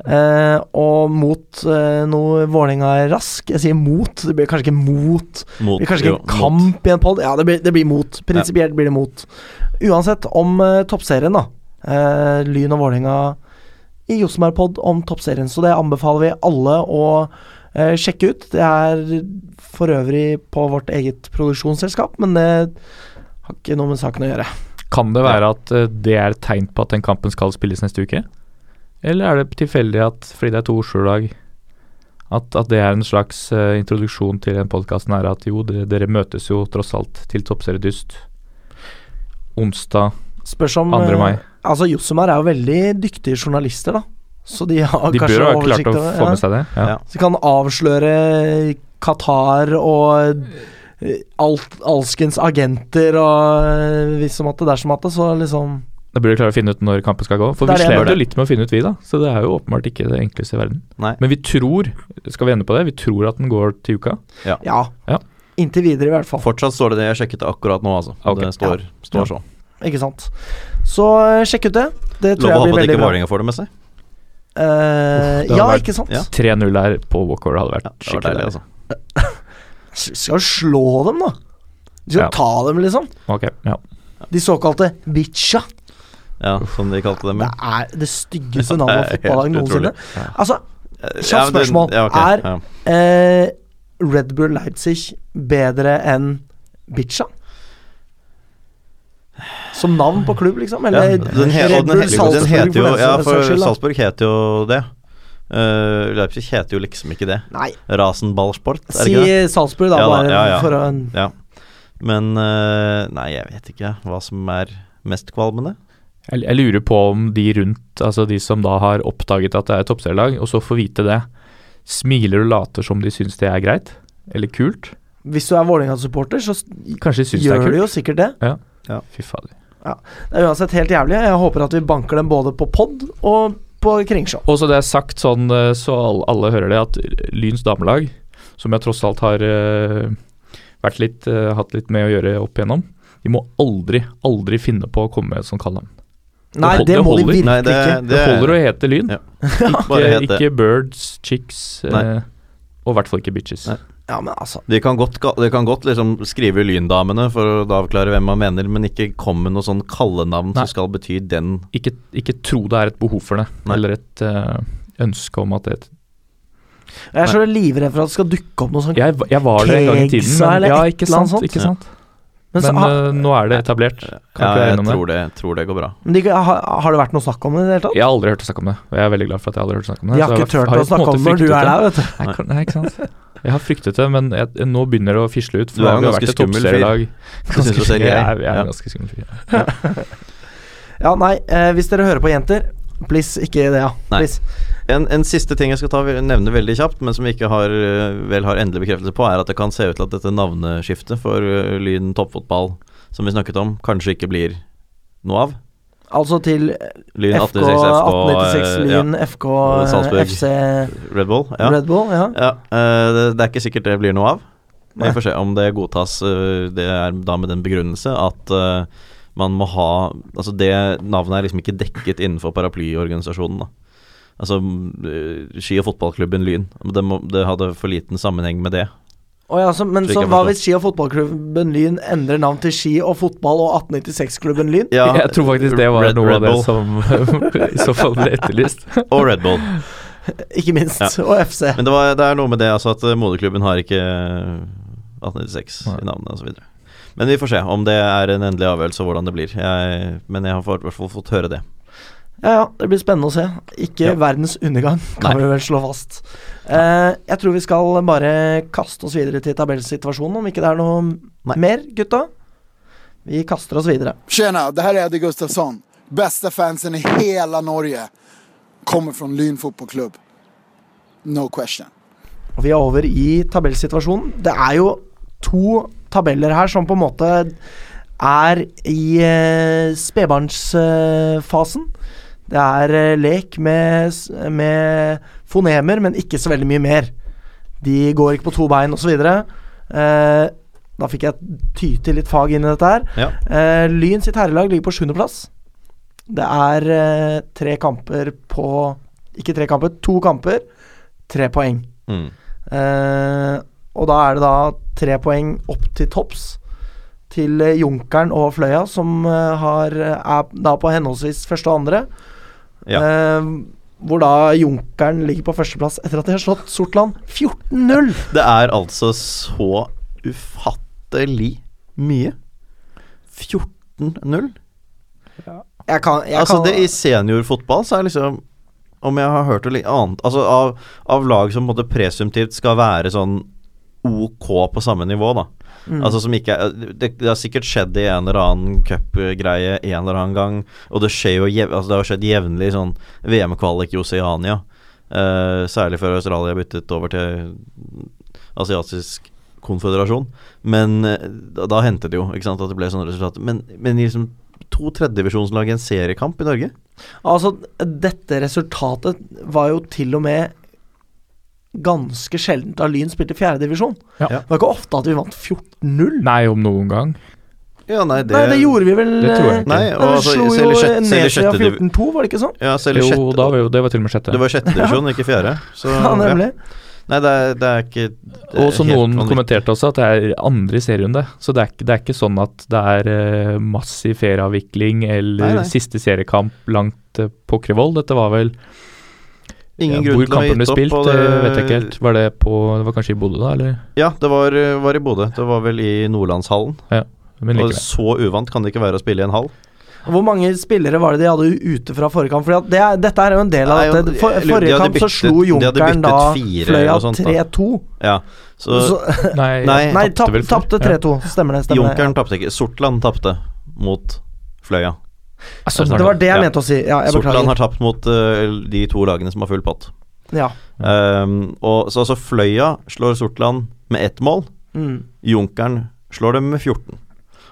S1: Eh, og mot eh, noe Vålerenga Rask. Jeg sier mot, det blir kanskje ikke mot.
S2: Mot,
S1: Det blir kanskje ikke
S2: jo,
S1: en
S2: mot.
S1: kamp i en pod. Ja, det blir, det blir mot. Prinsipielt blir det mot. Uansett, om eh, toppserien, da. Eh, Lyn og Vålerenga i Josmar-pod om toppserien. Så det anbefaler vi alle å eh, sjekke ut. Det er for øvrig på vårt eget produksjonsselskap, men det har ikke noe med saken å gjøre.
S3: Kan det være at eh, det er et tegn på at den kampen skal spilles neste uke? Eller er det tilfeldig at fordi det er to Oslo-lag, at, at det er en slags eh, introduksjon til den podkasten her at jo, dere, dere møtes jo tross alt til toppseriedyst onsdag
S1: Spørs om
S3: 2.
S1: eh,
S3: mai.
S1: Altså, Josmar er jo veldig dyktige journalister, da. Så de har
S3: De
S1: kanskje
S3: bør ha klart
S1: oversikt
S3: å
S1: over
S3: få
S1: ja.
S3: med seg det. Ja.
S2: Ja.
S1: Så de kan avsløre Qatar og eh, alt, alskens agenter og eh, hvis som at det dersom at det, så liksom
S3: Da bør de klare å finne ut når kampen skal gå. For
S1: Det er det
S3: vi
S1: jeg
S3: sleit
S2: mener.
S3: jo litt med å finne ut, vi, da. Så det er jo åpenbart ikke det enkleste i verden.
S2: Nei.
S3: Men vi tror, skal vi ende på det, vi tror at den går til uka.
S1: Ja.
S3: Ja.
S1: Inntil videre, i hvert fall.
S2: Fortsatt står det det. Jeg sjekket det akkurat nå, altså.
S3: Ok.
S2: Det står, står sånn. så.
S1: Ikke sant. Så eh, sjekk ut det. Det tror
S2: Lov å
S1: jeg
S2: håpe
S1: blir
S2: at
S1: veldig
S2: ikke
S1: bra.
S2: Vålerenga får det med seg.
S1: Eh,
S3: Uff, det hadde
S1: ja,
S3: vært-
S1: ikke sant?
S2: ja.
S3: 3-0 her på walkover hadde vært
S2: Ja, det var
S3: skikkelig
S2: deilig,
S3: deilig.
S2: altså.
S1: S- Skal jo slå dem, da. De skal
S3: Ja.
S1: ta dem, liksom.
S3: Ok, ja.
S1: De såkalte bitcha.
S2: Ja, som de kalte det.
S1: Det
S2: Men.
S1: er det styggeste navnet på
S2: Mm. Det er helt
S1: fotballag noensinne.
S2: utrolig.
S1: Altså,
S2: Ja, men det-
S1: spørsmål.
S2: ja, ok,
S1: Er-
S2: ja.
S1: eh, Red Bull Leipzig bedre enn bitcha? Som navn på klubb, liksom? Eller
S2: ja, den, he
S1: Red
S2: og den,
S1: Bull
S2: he den
S1: Salzburg,
S2: heter jo
S1: for den
S2: Ja,
S1: saks
S2: for
S1: skyld, da.
S2: Salzburg heter jo det. Eh, Leipzig heter jo liksom ikke det.
S1: Nei,
S2: Rasenballsport, er det
S1: si
S2: ikke det?
S1: Salzburg, da,
S2: Ja da,
S1: bare
S2: ja, ja.
S1: for å en
S2: Ja. Men eh, Nei, jeg vet ikke hva som er mest kvalmende.
S3: Jeg, jeg lurer på om de rundt, altså de som da har oppdaget at det er et toppserielag, og så får vite det, smiler og later som de syns det er greit, eller kult.
S1: Hvis du er Vålerenga-supporter, så s-
S3: Kanskje de syns det
S1: gjør
S3: er
S1: du
S3: kult.
S1: jo sikkert det.
S3: Fy fader.
S1: Det er uansett helt jævlig. Jeg håper at vi banker dem både på pod og på kringshow.
S3: Og så det er sagt sånn, eh, så alle, alle hører det, at Lyns damelag, som jeg tross alt har eh, vært litt, eh, hatt litt med å gjøre opp igjennom, de må aldri, aldri finne på å komme med et sånt kallenavn.
S1: Nei,
S3: hold-
S1: det
S3: det
S1: må de
S3: holder.
S1: virkelig
S2: Nei, det,
S1: ikke.
S2: det
S3: Det holder å hete Lyn,
S2: Ja, bare
S3: ikke,
S2: het det.
S3: ikke Birds, Chicks, eh, og i hvert fall ikke Bitches.
S2: Nei.
S1: Ja, men altså
S2: De kan godt, ga- de kan godt liksom skrive Lyndamene for å da avklare hvem man mener, men ikke kom med noe sånn kallenavn
S3: Nei.
S2: som skal bety den.
S3: Ikke, ikke tro det er et behov for det,
S2: Nei.
S3: eller et eh, ønske om at det
S1: Jeg er så livredd for at det skal dukke opp noe sånt.
S3: jeg, jeg var det en gang i tiden,
S1: Kegsa
S3: men
S1: eller
S3: ja,
S1: et
S3: ikke
S1: eller annet
S3: sant.
S1: sånt.
S3: Ikke
S2: Ja.
S3: sant?
S1: Men,
S3: Men
S1: så, ha,
S3: eh, nå er det etablert. Kan
S2: ja,
S3: ikke være
S2: jeg
S3: enig om det.
S2: tror det, tror det går bra.
S1: men de, ha, har det vært noe snakk om det i det hele tatt?
S3: Jeg har aldri hørt å snakke om det, og jeg er veldig glad for at jeg aldri har hørt å snakke om det.
S1: De har
S3: så
S1: ikke
S3: jeg
S1: turt
S3: har
S1: å
S3: jo på en
S1: snakke
S3: måte
S1: om det når du
S3: fryktet
S1: er
S3: det.
S1: der, vet du.
S3: Nei, kan- nei, ikke sant. Jeg har fryktet det, men jeg, nå begynner det å fisle ut.
S2: Du er en ganske skummel fyr.
S3: Du
S2: synes du selv
S3: jeg,
S2: er.
S3: er- jeg er
S2: Ja.
S3: en ganske skummel fyr.
S1: Ja, nei, eh, hvis dere hører på jenter, please, ikke det, ja.
S2: Nei.
S1: Please.
S2: En, en siste ting jeg skal ta, nevne veldig kjapt, men som vi ikke har, eh, vel har endelig bekreftelse på, er at det kan se ut til at dette navneskiftet for eh, Lyn toppfotball, som vi snakket om, kanskje ikke blir noe av.
S1: Altså til
S2: Lyn
S1: FK
S2: 1896 FK
S1: 1896
S2: eh,
S1: Lyn, FK
S2: Og Salzburg.
S1: FC
S2: ja, Red Bull. Ja.
S1: Red Bull, ja.
S2: Ja, eh, det, det er ikke sikkert det blir noe av. Men
S1: Nei.
S2: Vi får se om det godtas. eh, Det er da med den begrunnelse at eh, man må ha Altså, det navnet er liksom ikke dekket innenfor paraplyorganisasjonen, da. Altså eh, ski- og fotballklubben Lyn. Det, må, det hadde for liten sammenheng med det.
S1: Å ja, så, men
S2: Slik
S1: så
S2: jeg
S1: hva
S2: forstår.
S1: hvis ski- og fotballklubben Lyn endrer navn til ski og fotball og 1896-klubben Lyn?
S2: Ja,
S3: Jeg tror faktisk det var
S2: Red,
S3: noe av
S2: Red
S3: det
S2: Bull
S3: som i så fall ble etterlyst.
S2: og Red Bull.
S1: Ikke minst.
S2: Ja.
S1: Og FC.
S2: Men det, var, det er noe med det altså at eh, moderklubben har ikke eh, 1896
S3: Nei.
S2: i navnet osv. Men vi får se om det er en endelig avgjørelse og hvordan det blir. Jeg, men jeg har i hvert fall fått høre det.
S1: Ja, ja, det blir spennende å se. Ikke
S2: Ja.
S1: verdens undergang, kan
S2: Nei.
S1: vi vel slå fast. Eh, jeg tror vi skal bare kaste oss videre til tabellsituasjonen, om ikke det er noe mer, gutta. Vi kaster oss videre.
S4: Tjena, det här är Eddie Gustafsson. Bästa fansen i hela Norge. Kommer från Lyn fotbollsklubb. No question.
S1: Og vi er over i tabellsituasjonen. Det er jo to tabeller her som på en måte er i eh, spedbarnsfasen. det er eh, lek med, s- med fonemer, men ikke så veldig mye mer. De går ikke på to bein osv. Eh, da fikk jeg ty til litt fag inn i dette her.
S2: Ja.
S1: Eh, Lyn sitt herrelag ligger på sjuendeplass. Det er eh, tre kamper på Ikke tre kamper, to kamper. Tre poeng.
S2: Mm.
S1: Eh, og da er det da tre poeng opp til topps til eh, Junkeren og Fløya, som eh, har, er da på henholdsvis første og andre.
S2: Ja.
S1: Eh, hvor da Junkeren ligger på førsteplass etter at de har slått Sortland 14-0!
S2: Det er altså så ufattelig mye. 14-0.
S1: Jeg kan, jeg
S2: Altså,
S1: kan
S2: det i seniorfotball så er liksom Om jeg har hørt noe litt annet Altså, av, av lag som på en måte presumptivt skal være sånn OK på samme nivå, da.
S1: Mm.
S2: Altså som ikke er det, det har sikkert skjedd i en eller annen cupgreie en eller annen gang, og det skjer jo jev, altså det har skjedd jevnlig i sånn VM-kvalik i Oseania. eh, særlig før Australia byttet over til asiatisk konføderasjon. Men eh, da, da hendte det jo ikke sant, at det ble sånne resultater. Men, men i liksom to tredjedivisjonslag i en seriekamp i Norge?
S1: Altså, dette resultatet var jo til og med ganske sjeldent da Lyn spilte fjerdedivisjon.
S3: Ja.
S2: Ja.
S1: Det var ikke ofte at vi vant 14-0.
S3: Nei, om noen gang.
S2: Ja, nei, det,
S1: Nei, det gjorde vi vel
S3: Det tror jeg
S1: eh,
S3: ikke.
S2: Nei,
S1: Nei,
S2: og
S1: vi
S2: altså,
S1: slo
S2: selv i
S1: jo
S2: sjette- selv i
S1: Nesøya
S2: sjette div-
S1: 14-2, var det ikke sånn?
S2: Ja, selv i
S3: Jo,
S2: sjette-
S3: da var jo, det var til og med sjette.
S2: Det var sjette divisjon, ikke fjerde. Så,
S1: Ja, nemlig.
S2: Nei, det er, det er ikke det er
S3: Og som
S2: helt
S3: noen
S2: vanvittig.
S3: kommenterte også, at det er andre serierunde. Så det er, ikke- det er ikke sånn at det er eh, massiv ferieavvikling eller
S2: Nei, nei.
S3: siste seriekamp langt eh, på Krevoll. Dette var vel ja,
S2: Ingen grunn
S3: Hvor
S2: til å ha
S3: kampen ble
S2: gitt opp.
S3: spilt,
S2: og
S3: det... vet jeg ikke helt. Var det på Det var kanskje i Bodø, da? Eller?
S2: Ja, det var, eh, var i Bodø. Det var vel i Nordlandshallen.
S3: Men
S2: Og
S3: likevel.
S2: så uvant kan det ikke være å spille i en hall.
S1: Hvor mange spillere var det de hadde ute fra forrige kamp? Fordi at det er, dette er jo en del av
S2: Nei, jo,
S1: dette. For,
S2: jeg lurer- de
S1: forrige
S2: hadde
S1: kamp så
S2: byttet-
S1: slo
S2: de hadde
S1: Junkeren
S2: byttet
S1: da
S2: fire
S1: Fløya
S2: og sånt, da.
S1: 3-2.
S2: Ja, så,
S1: Så-
S3: Nei,
S2: Nei,
S1: Nei,
S3: tapte
S1: tap-
S3: vel for-
S1: tapte
S3: ja.
S1: 3-2. Stemmer det. stemmer det.
S2: Junkeren tapte ikke. Sortland tapte mot Fløya.
S3: Altså,
S1: Det var det jeg
S2: Ja.
S1: mente å si. Ja, jeg
S2: Sortland
S1: beklager.
S2: har tapt mot eh, de to lagene som har full pott.
S1: Ja.
S2: Ehm, og, så altså Fløya slår Sortland med ett mål.
S1: Mm.
S2: Junkeren slår dem med 14.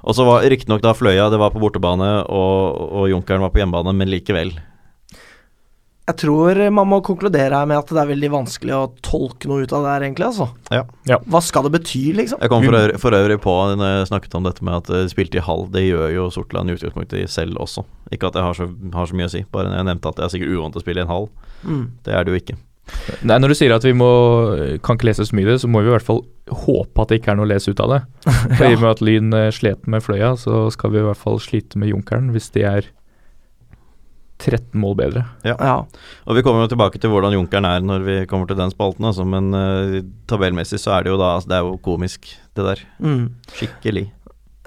S2: Og så var riktignok da Fløya det var på bortebane, og, og Junkeren var på hjemmebane, men likevel.
S1: Jeg tror man må konkludere her med at det er veldig vanskelig å tolke noe ut av det her, egentlig. altså.
S2: Ja.
S3: Ja.
S1: Hva skal det bety, liksom?
S2: Jeg kom for øvrig, for øvrig på når jeg snakket om dette med at eh, spilte i halv. Det gjør jo Sortland i utgangspunktet selv også. Ikke at jeg har så, har så mye å si, bare jeg nevnte at jeg er sikkert uvant til å spille i en halv.
S1: Mm.
S2: Det er det jo ikke.
S3: Nei, når du sier at vi må, kan ikke lese så mye i det, så må vi i hvert fall håpe at det ikke er noe å lese ut av det. For I og med at Lyn eh, slet med Fløya, så skal vi i hvert fall slite med Junkeren hvis de er 13 mål bedre.
S1: Ja.
S2: Og vi kommer jo tilbake til hvordan Junkeren er når vi kommer til den spalten, altså, men eh, tabellmessig så er det jo da altså, Det er jo komisk, det der.
S1: Mm.
S2: Skikkelig.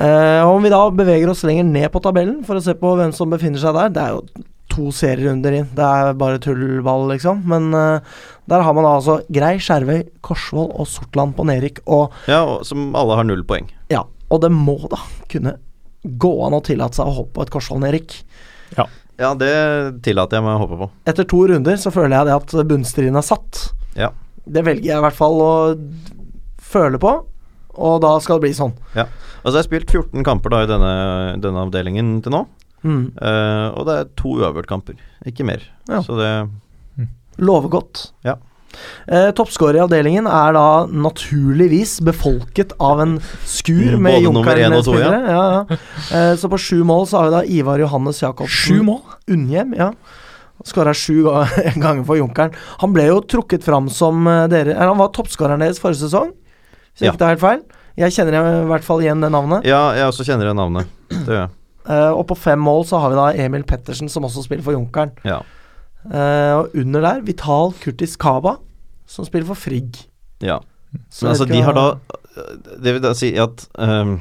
S1: Eh, om vi da beveger oss lenger ned på tabellen for å se på hvem som befinner seg der Det er jo to serierunder inn, det er bare tullball, liksom. Men eh, der har man da altså Grei, Skjervøy, Korsvoll og Sortland på nedrykk. Og
S2: Ja, og som alle har null poeng.
S1: ja, og det må da kunne gå an å tillate seg å håpe på et Korsvoll-nedrykk.
S2: Ja, det tillater jeg meg å håpe på.
S1: Etter to runder så føler jeg det at bunnstriden er satt.
S2: Ja.
S1: Det velger jeg i hvert fall å føle på, og da skal det bli sånn.
S2: Altså, jeg har spilt 14 kamper da i denne, denne avdelingen til nå,
S1: Mm.
S2: eh, og det er to uavgjort-kamper, ikke mer.
S1: Ja.
S2: Så det
S1: Lover godt.
S2: Ja.
S1: Eh, Toppskårer i avdelingen er da naturligvis befolket av en skur med
S2: Både nummer én og to, ja.
S1: Junkeren-spillere. Ja, ja. Eh, så på sju mål så har vi da Ivar Johannes Jacobsen
S3: mål?
S1: Unnhjem. Ja. Skåra sju ga- ganger for Junkeren. Han ble jo trukket fram som eh, dere eller Han var toppskåreren deres forrige sesong, hvis
S2: Ja.
S1: ikke det er helt feil. Jeg kjenner i hvert fall igjen det navnet.
S2: Ja, jeg også kjenner det navnet. Det gjør jeg.
S1: Eh, og på fem mål så har vi da Emil Pettersen, som også spiller for Junkeren.
S2: Ja.
S1: Eh, og under der Vital Kurtis Kaba, som spiller for Frigg.
S2: ja.
S1: Så
S2: Men altså,
S1: jeg vet
S2: de har
S1: ikke
S2: da eh,
S1: hva-
S2: Det vil da si at ehm,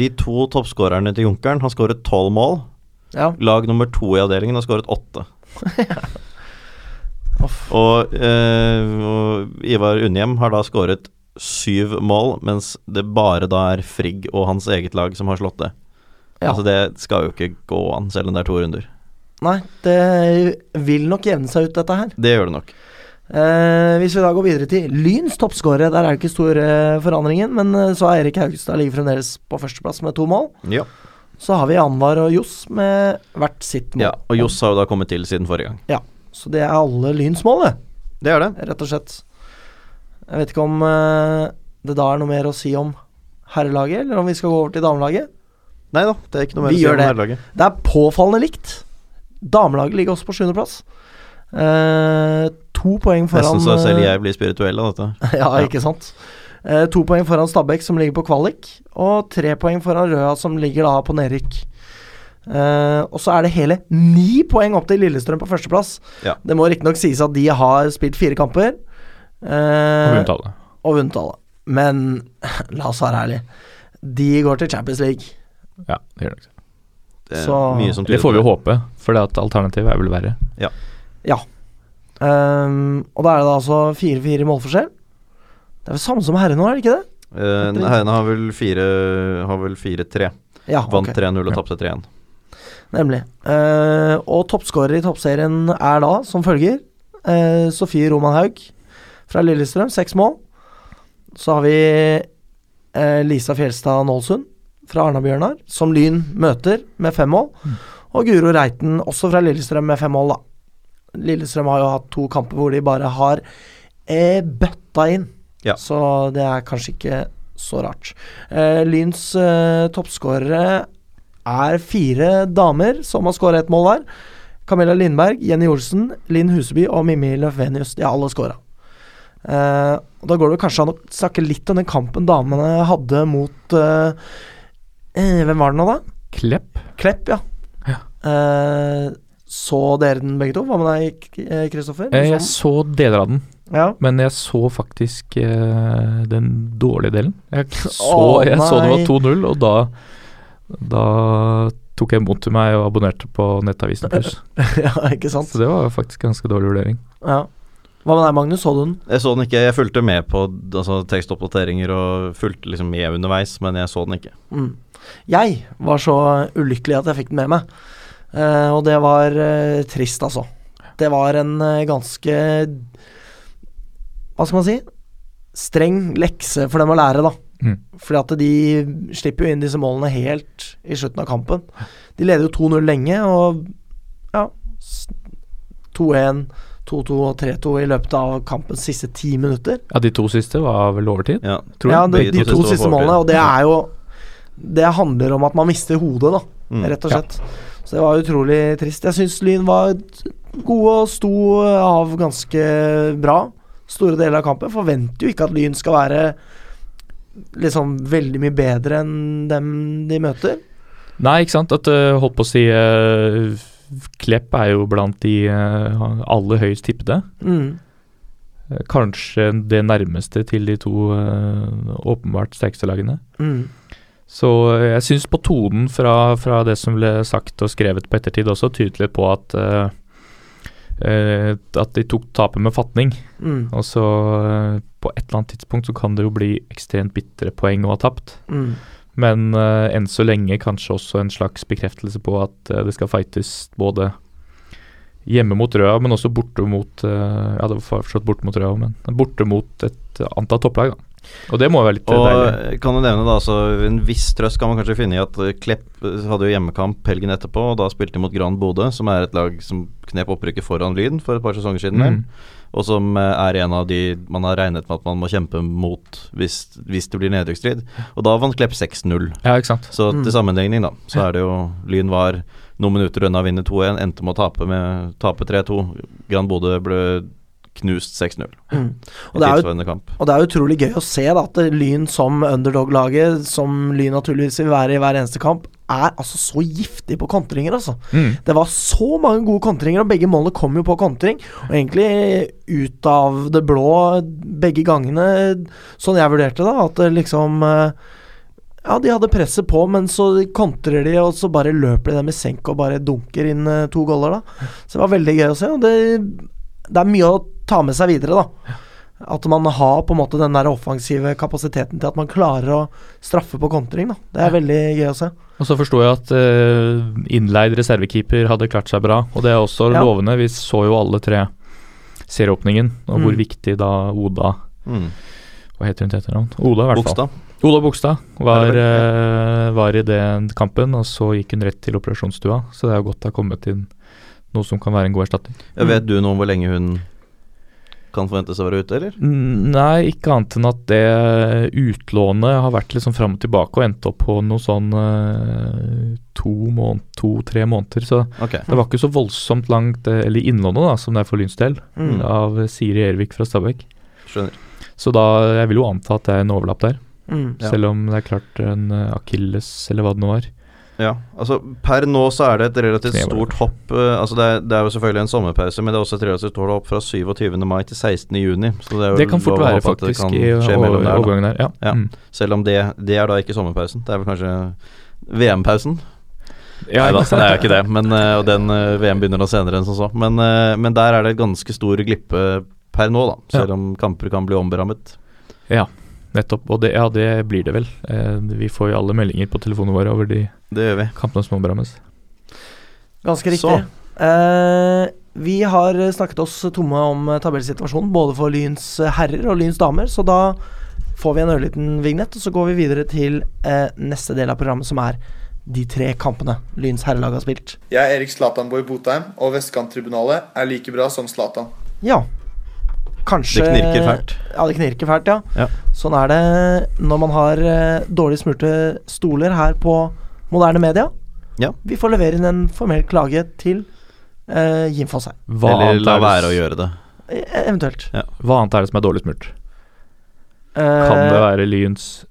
S2: de to toppskårerne til Junkeren har skåret tolv mål,
S1: Ja.
S2: Lag nummer to i avdelingen har skåret åtte.
S1: Uff.
S2: Og, eh, og Ivar Unnhjem har da skåret syv mål, mens det bare da er Frigg og hans eget lag som har slått det.
S1: Ja.
S2: Altså Det skal jo ikke gå an, selv om det er to runder.
S1: Nei, det vil nok jevne seg ut, dette her.
S2: Det gjør det nok.
S1: Eh, hvis vi da går videre til Lyns toppskårere, der er det ikke store forandringen, men eh, så er Erik Haugstad ligger fremdeles på førsteplass med to mål.
S2: Ja.
S1: Så har vi Anwar og Johs med hvert sitt mål.
S2: ja, Og Johs har jo da kommet til siden forrige gang.
S1: Så det er alle Lyns mål, det.
S2: Det er det.
S1: rett og slett. Jeg vet ikke om eh, det da er noe mer å si om herrelaget, eller om vi skal gå over til damelaget.
S2: Nei da, det er ikke noe mer
S1: Vi
S2: å si
S1: gjør
S2: om
S1: det.
S2: nærlaget.
S1: Det er påfallende likt. Damelaget ligger også på sjuendeplass. Uh, to poeng foran
S2: Nesten så selv
S1: eh,
S2: jeg blir spirituell av dette.
S1: ja,
S2: Ja.
S1: ikke sant. Eh, to poeng foran Stabæk, som ligger på kvalik, og tre poeng foran Røa, som ligger da på nedrykk. Eh, og så er det hele ni poeng opp til Lillestrøm på førsteplass.
S2: Ja.
S1: Det må riktignok sies at de har spilt fire kamper.
S3: på
S1: Uh,
S3: bunntallet.
S1: og vunnet alle. Men la oss være ærlige. De går til Champions League.
S3: Ja, det gjør det ikke.
S2: Det, er
S1: Så-
S2: mye som
S3: Det
S2: tyder
S3: får vi
S2: på
S3: jo håpe, for det at alternativet er vel verre.
S1: Ehm, og da er det da altså 4-4 i målforskjell. Det er vel samme som herrene nå, er det ikke det?
S2: Eh, nei, Heiene har vel fire- har vel 4-3.
S1: Ja, ok.
S2: Vant 3-0 og
S3: Ja.
S2: tapte 3-1.
S1: Nemlig. Eh, og toppskårer i toppserien er da som følger eh, Sofie Roman Haug fra Lillestrøm, seks mål. Så har vi eh, Lisa Fjelstad Nålsund fra Arna-Bjørnar, som Lyn møter med fem mål. Og Guro Reiten, også fra Lillestrøm, med fem mål, da. Lillestrøm har jo hatt to kamper hvor de bare har eh, bøtta inn.
S2: Ja.
S1: Så det er kanskje ikke så rart. Eh, Lyns eh, toppskårere er fire damer som har skåra ett mål hver. Camilla Lindberg, Jenny Olsen, Linn Huseby og Mimmi Løfvenius. De har alle skåra. Eh, og da går det vel kanskje an å snakke litt om den kampen damene hadde mot eh, eh, Hvem var det nå, da?
S3: Klepp?
S1: Klepp, ja. Eh, så dere den begge to? Hva med deg, K- eh, Kristoffer?
S3: Eh, Jeg
S1: Sånn.
S3: så deler av den,
S1: Ja.
S3: men jeg så faktisk eh, den dårlige delen. Jeg så,
S1: Å,
S3: jeg så det
S1: nei.
S3: var 2-0, og da, da tok jeg mot til meg og abonnerte på Nettavisen Pluss.
S1: ja, ikke sant?
S3: Så det var faktisk ganske dårlig vurdering.
S1: Ja. Hva med deg, Magnus? Så du den?
S2: Jeg så den ikke. Jeg fulgte med på altså, tekstoppdateringer og fulgte liksom med underveis, men jeg så den ikke.
S1: Mm. Jeg var så ulykkelig at jeg fikk den med meg. Eh, og det var eh, trist, altså. Det var en eh, ganske Hva skal man si? Streng lekse for dem å lære, da.
S3: Mm.
S1: Fordi at de slipper jo inn disse målene helt i slutten av kampen. De leder jo 2-0 lenge, og ja s- 2-1, 2-2 og 3-2 i løpet av kampens siste ti minutter.
S3: Ja, de to siste var vel overtid?
S2: Ja,
S3: Tror
S1: ja,
S3: jeg.
S1: det,
S2: Begge
S1: de
S2: to
S1: to
S2: siste
S1: siste
S2: var på
S1: målene, og det
S2: overtid.
S1: er jo Det handler om at man mister hodet, da
S2: mm.
S1: rett og
S3: Ja.
S1: slett. Så det var utrolig trist. Jeg syns Lyn var t- gode og sto av ganske bra store deler av kampen. Forventer jo ikke at Lyn skal være liksom veldig mye bedre enn dem de møter.
S3: Nei, ikke sant. At eh, holdt på å si eh, Klepp er jo blant de eh, aller høyest tippede.
S1: Mm.
S3: Eh, Kanskje det nærmeste til de to eh, åpenbart sterkeste lagene.
S1: Mm.
S3: Så eh, jeg syns på tonen fra, fra det som ble sagt og skrevet på ettertid også, tydelig på at eh, eh, at de tok tapet med fatning.
S1: Mm.
S3: Og så eh, på et eller annet tidspunkt så kan det jo bli ekstremt bitre poeng å ha tapt.
S1: Mm.
S3: Men eh, enn så lenge kanskje også en slags bekreftelse på at eh, det skal fightes både hjemme mot Røa, men også borte mot eh, Ja, det var fortsatt borte mot Røa, men borte mot et eh, antatt topplag, da. Og det må jo være litt eh, deilig.
S2: Og kan du nevne da, så En viss trøst kan man kanskje finne i at eh, Klepp eh, hadde jo hjemmekamp helgen etterpå, og da spilte de mot Gran Bodø, som er et lag som knep opprykket foran Lyn for et par sesonger siden, vel,
S3: Mm.
S2: og som eh, er en av de man har regnet med at man må kjempe mot hvis, hvis det blir nedrykksstrid. Og da vant Klepp 6-0.
S3: Ja, ikke sant.
S2: Så
S1: Mm.
S2: til sammenligning, da, så er det jo Lyn var noen minutter unna å vinne 2-1, endte med å tape, med- tape 3-2. Gran Bodø ble knust 6-0
S1: Mm.
S2: i
S1: Og det er jo
S2: tilsvarende kamp.
S1: Og det er utrolig gøy å se da, at Lyn som underdog-laget, som Lyn naturligvis vil være i hver eneste kamp, er altså så giftig på kontringer, altså.
S3: Mm.
S1: Det var så mange gode kontringer, og begge målene kom jo på kontring. Og egentlig ut av det blå begge gangene, sånn jeg vurderte det, at det liksom eh, Ja, de hadde presset på, men så kontrer de, og så bare løper de dem i senk og bare dunker inn eh, to goller, da. Så det var veldig gøy å se. Og det, det er mye å ta med seg videre, da. At man har på en måte den der offensive kapasiteten til at man klarer å straffe på kontring, da. Det er veldig gøy å se.
S3: Og så forstår jeg at eh, innleid reservekeeper hadde klart seg bra, og det er også
S1: Ja.
S3: lovende. Vi så jo alle tre serieåpningen, og hvor
S1: Mm.
S3: viktig da Oda
S2: Mm.
S3: Hva heter hun til etternavn? Oda, i hvert fall.
S2: Bogstad.
S3: Ola Bogstad
S2: Er
S3: var,
S2: det
S3: eh, var i den kampen, og så gikk hun rett til operasjonsstua. Så det er jo godt det har kommet inn noe som kan være en god erstatning.
S2: Ja, vet du noe om hvor lenge hun kan forventes å være ute, eller?
S3: Mm, Nei, ikke annet enn at det utlånet har vært litt sånn fram og tilbake og endt opp på noe sånn eh, to måned, to-tre måneder. Så
S2: Ok.
S3: det var ikke så voldsomt langt, eh, eller innlånet da, som det er for Lyns del,
S1: Mm.
S3: av Siri Ervik fra Stabæk.
S2: Skjønner.
S3: Så da, jeg vil jo anta at det er en overlapp der.
S1: Mm.
S2: Ja.
S3: Selv om det er klart en eh, akilles, eller hva det nå var.
S2: Ja, altså per nå så er det et relativt
S3: Tre var det.
S2: stort hopp eh, Altså det er, det er jo selvfølgelig en sommerpause, men det er også et relativt stort hopp fra 27. mai til 16. juni. Så det, er jo
S3: Det kan fort
S2: lov å
S3: være,
S2: håpe at det
S3: faktisk,
S2: kan
S3: i
S2: skje mellom der,
S3: over-
S2: da.
S3: overgangen der. Ja.
S2: Ja.
S3: Mm.
S2: Selv om det, det er da ikke sommerpausen. Det er vel kanskje VM-pausen?
S3: Ja,
S2: Nei da,
S3: ikke
S2: det er jo
S3: sant?
S2: ikke det. Men, eh, og den eh, VM begynner da senere enn som så. Men, eh, men der er det et ganske stor glippe per nå, da. Selv om kamper kan bli omberammet.
S3: Nettopp. Og det, ja, det blir det vel. Eh, vi får jo alle meldinger på telefonene våre over de
S2: Det gjør vi.
S3: kampene som omrammes.
S1: Ganske riktig.
S2: Så.
S1: Eh, vi har snakket oss tomme om eh, tabellsituasjonen, både for Lyns eh, herrer og Lyns damer, så da får vi en ørliten vignett, og så går vi videre til eh, neste del av programmet, som er de tre kampene Lyns herrelag har spilt.
S5: Jeg er Erik Zlatanborg Botheim, og Vestkanttribunalet er like bra som Zlatan.
S1: Ja. Kanskje
S2: Det knirker fælt.
S1: Ja, det knirker fælt, ja.
S2: Ja.
S1: Sånn er det når man har eh, dårlig smurte stoler her på moderne media.
S2: Ja.
S1: Vi får levere inn en formell klage til eh, Jim Fosheim.
S3: Hva
S2: Eller la være å
S3: det,
S2: gjøre det.
S1: E- Eventuelt.
S3: s- hva annet er det som er dårlig smurt?
S1: Eh,
S3: Kan det være Lyns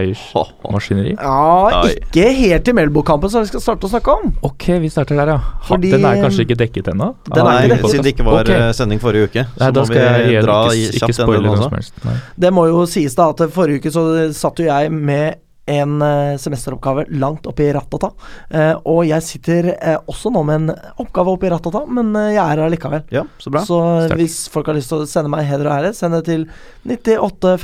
S3: seiersmaskineri?
S1: Ja,
S2: Oi.
S1: ikke helt i Melbo-kampen som vi skal starte å snakke om.
S3: Ok, vi starter der, ja. Ha,
S1: Fordi-
S3: den er kanskje ikke dekket ennå?
S1: Den er ikke
S2: Nei,
S1: det.
S2: siden det ikke var
S3: Ok.
S2: eh, sending forrige uke, så
S3: Nei, da
S2: må
S3: skal
S2: vi
S3: jeg igjen
S2: dra i-
S3: ikke, ikke
S2: kjapt
S3: spoile
S2: gjennom den
S3: noe
S2: også.
S3: som helst. Nei.
S1: Det må jo sies da at forrige uke så satt jo jeg med en eh, semesteroppgave langt oppi rattata. Eh, og jeg sitter eh, også nå med en oppgave oppi rattata, men eh, jeg er her allikevel.
S2: Ja, så bra.
S1: Så
S3: Sterkt.
S1: hvis folk har lyst til å sende meg heder og ære, send det til 98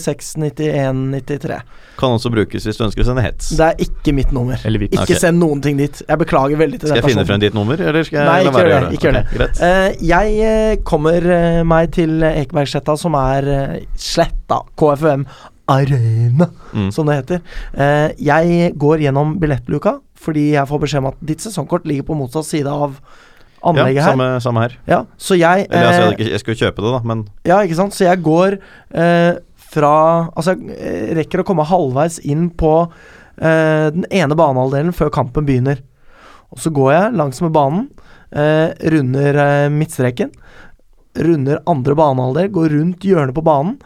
S1: 56 91 93.
S2: Kan også brukes hvis du ønsker å sende hets.
S1: Det er ikke mitt nummer.
S3: Eller vits.
S1: Ikke
S2: Ok.
S1: send noen ting dit. Jeg beklager veldig til den
S2: Skal jeg finne
S1: personen.
S2: frem ditt nummer, eller skal jeg
S1: Nei,
S2: la
S1: ikke
S2: være å
S1: gjør
S2: gjøre
S1: det, ikke gjør
S2: Ok,
S1: det.
S2: greit.
S1: Eh, jeg eh, kommer eh, meg til Ekebergsletta, som er eh, Sletta KFUM Arena,
S2: Mm.
S1: som det heter. Eh, jeg går gjennom billettluka, fordi jeg får beskjed om at ditt sesongkort ligger på motsatt side av anlegget
S2: ja,
S1: her.
S2: samme, samme her.
S1: Ja, så jeg
S2: Eller altså, jeg,
S1: eh,
S2: hadde ikke- jeg skulle kjøpe det, da, men
S1: Ja, ikke sant? Så jeg går eh, fra Altså, jeg eh, rekker å komme halvveis inn på eh, den ene banehalvdelen før kampen begynner. Og så går jeg langsmed banen, eh, runder eh, midtstreken, runder andre banehalvdel, går rundt hjørnet på banen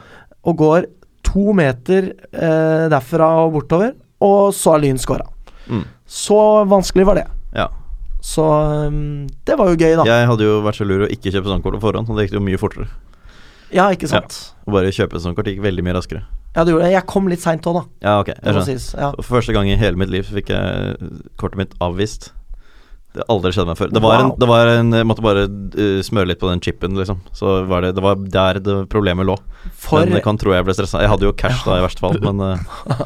S1: og går to meter eh, derfra og bortover, og så har Lyn scora.
S2: Mm.
S1: Så vanskelig var det.
S2: ja.
S1: Så mm, det var jo gøy, da. Ja,
S2: Jeg hadde jo vært så lur å ikke kjøpe sånn kort på forhånd, og det gikk jo mye fortere.
S1: ikke sant?
S2: Å bare kjøpe sånn kort gikk veldig mye raskere.
S1: Ja, det gjorde det. Jeg kom litt seint òg, da.
S2: Ja, ok, jeg
S1: Det må
S2: skjønner.
S1: sies. Ja.
S2: Og For første gang i hele mitt liv så fikk jeg kortet mitt avvist. Det har aldri skjedd meg før. Det var en,
S1: Wow.
S2: det var en Jeg måtte bare eh, smøre litt på den chipen, liksom. Så var det Det var der det problemet lå.
S1: For
S2: Men det kan tro jeg ble stressa. Jeg hadde jo cash da, i verste fall, men eh,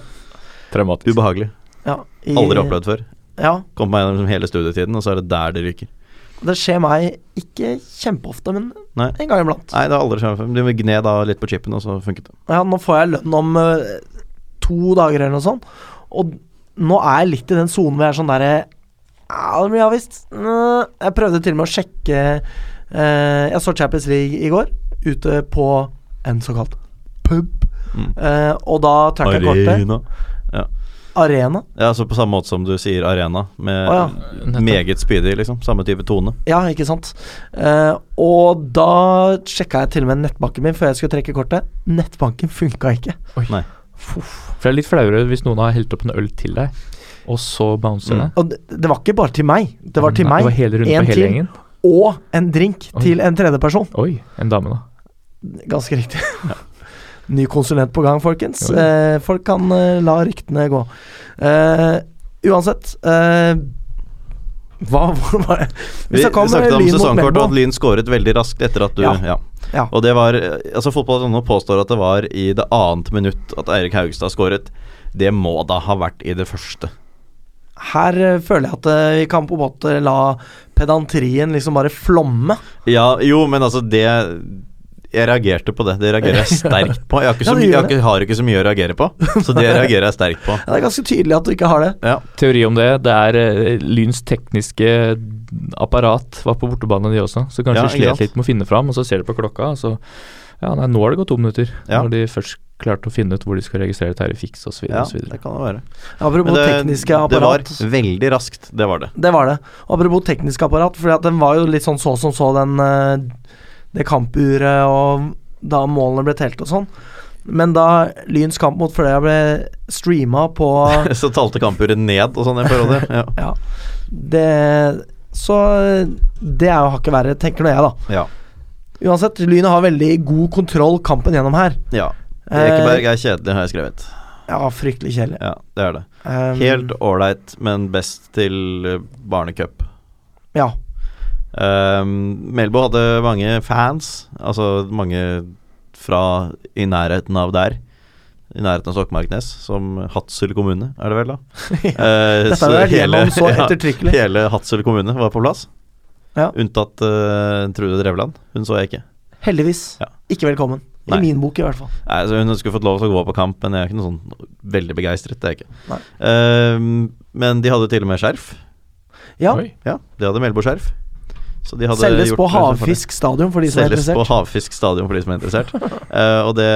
S3: Traumatisk.
S2: ubehagelig.
S1: ja, i-
S2: Aldri opplevd før.
S1: Ja,
S2: Kom meg gjennom hele studietiden, og så er det der det ryker.
S1: det skjer meg ikke kjempeofte, men
S2: Nei.
S1: en gang iblant.
S2: Nei, det har aldri skjedd meg før. Du må gne da litt på chipen, og så funket det.
S1: Ja, nå får jeg lønn om eh, to dager eller noe sånt, og nå er jeg litt i den sonen hvor jeg er sånn derre Ja, det blir avvist. Nå- Jeg prøvde til og med å sjekke eh, Jeg så Champions League i går, ute på en såkalt pub,
S2: Mm.
S1: eh, og da trakk jeg kortet. Arena.
S2: Ja, så på samme måte som du sier arena, med
S1: Å ja.
S3: Nettopp.
S2: meget spydig, liksom. Samme type tone.
S1: Ja, ikke sant. Eh, og da sjekka jeg til og med nettbanken min før jeg skulle trekke kortet. Nettbanken funka ikke.
S2: Nei.
S3: For det er litt flauere hvis noen har helt opp en øl til deg, og så bouncer
S2: Mm.
S3: det.
S1: Og det, det var ikke bare til meg. Det var til
S3: Nei,
S1: meg,
S3: Det var hele runden
S1: en
S3: på hele
S1: til,
S3: gjengen.
S1: og en drink
S3: Oi.
S1: til en tredjeperson.
S3: Oi, en dame, da.
S1: Ganske riktig. Ny konsulent på gang, folkens.
S3: Jo, jo.
S1: Eh, folk kan eh, la ryktene gå. Eh, uansett eh, Hva hvor var det?
S2: Vi, vi
S1: snakket eh,
S2: snakket om
S1: Lyn mot
S2: sesongkort og
S1: Melbo.
S2: at Lyn skåret veldig raskt etter at du
S1: Ja.
S2: Ja.
S1: Ja.
S2: Og det var Altså, fotball.no påstår at det var i det annet minutt at Eirik Haugstad skåret. Det må da ha vært i det første.
S1: Her eh, føler jeg at eh, vi kan på en måte la pedantrien liksom bare flomme.
S2: Ja, jo, men altså det Jeg reagerte på det. Det reagerer jeg sterkt på. Jeg har ikke
S1: Ja, du
S2: så, mye, jeg
S1: gjør
S2: har ikke, har ikke så mye å reagere på, så det reagerer jeg sterkt på.
S1: Ja, det er ganske tydelig at du ikke har det.
S2: Ja.
S3: Teori om det. Det er eh, Lyns tekniske apparat var på bortebane, de også. Så kanskje
S2: Ja,
S3: de
S2: ikke
S3: slet
S2: sant?
S3: litt med å finne fram, og så ser de på klokka, og så Ja, nei, nå har det gått to minutter.
S2: Ja.
S3: Når de først klarte å finne ut hvor de skal registrere Terje Fiks osv.
S2: ja,
S3: videre
S2: det kan det være.
S1: Apropos
S2: det,
S1: tekniske
S2: det var
S1: apparat.
S2: veldig raskt, det var det.
S1: Det var det. Apropos teknisk apparat, for den var jo litt sånn så som så, den eh, det kampuret og da målene ble telt og sånn. Men da Lyns kamp mot Fløya ble streama på
S2: Så talte kampuret ned og sånn en periode. Ja.
S1: det Så det er jo hakket verre, tenker nå jeg, da.
S2: ja.
S1: Uansett, Lyn har veldig god kontroll kampen gjennom her.
S2: ja.
S1: Eh,
S2: Ekeberg er kjedelig, har jeg skrevet.
S1: Ja, fryktelig kjedelig.
S2: Ja, det er det.
S1: Um,
S2: Helt ålreit, men best til eh, barnecup.
S1: Ja.
S2: Um, Melbo hadde mange fans, altså mange fra i nærheten av der. I nærheten av Stokmarknes, som Hadsel kommune, er det vel, da? Eh,
S1: Dette
S2: så
S1: har vi vært
S2: hele-
S1: gjennom så
S2: ja,
S1: ettertrykkelig.
S2: Hele Hadsel kommune var på plass.
S1: Ja.
S2: Unntatt eh, Trude Drevland. Hun så jeg ikke.
S1: Heldigvis.
S2: Ja.
S1: Ikke velkommen.
S2: Nei.
S1: I min bok, i hvert fall.
S2: Nei, så Hun skulle fått lov til å gå på kamp, men jeg er ikke noe sånn veldig begeistret. Det er jeg ikke.
S1: Nei.
S2: Ehm, men de hadde jo til og med skjerf.
S1: Ja.
S3: Oi.
S2: Ja, de hadde Melbo-skjerf. Så de hadde
S1: Selges
S2: gjort
S1: på
S2: det som
S1: Havfisk stadion, for de
S2: farlig.
S1: som er
S2: Selges på
S1: interessert.
S2: Havfisk stadion for de som er interessert. Eh, og det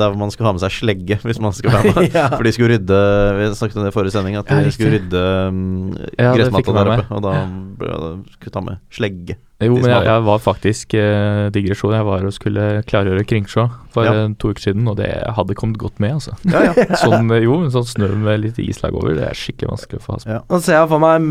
S2: der hvor man skulle ha med seg slegge hvis man skulle være med.
S1: Ja.
S2: For de skulle rydde Vi snakket om det i forrige sending, at
S3: Ja,
S2: de
S3: riktig.
S2: skulle rydde um,
S3: Ja, det fikk
S2: gressmatta
S3: jeg
S2: der
S3: med
S2: oppe. Og da, ja, da skulle vi ta med slegge. De
S3: Jo, men
S2: som
S3: jeg,
S2: hadde-
S3: jeg var faktisk eh, digresjon. Jeg var og skulle klargjøre Kringsjå for
S2: Ja.
S3: eh, to uker siden, og det hadde kommet godt med, altså.
S2: Ja, ja.
S3: Sånn, eh, jo, en sånn snø med litt islag over, det er skikkelig vanskelig å få has
S2: Ja.
S1: Nå ser jeg for meg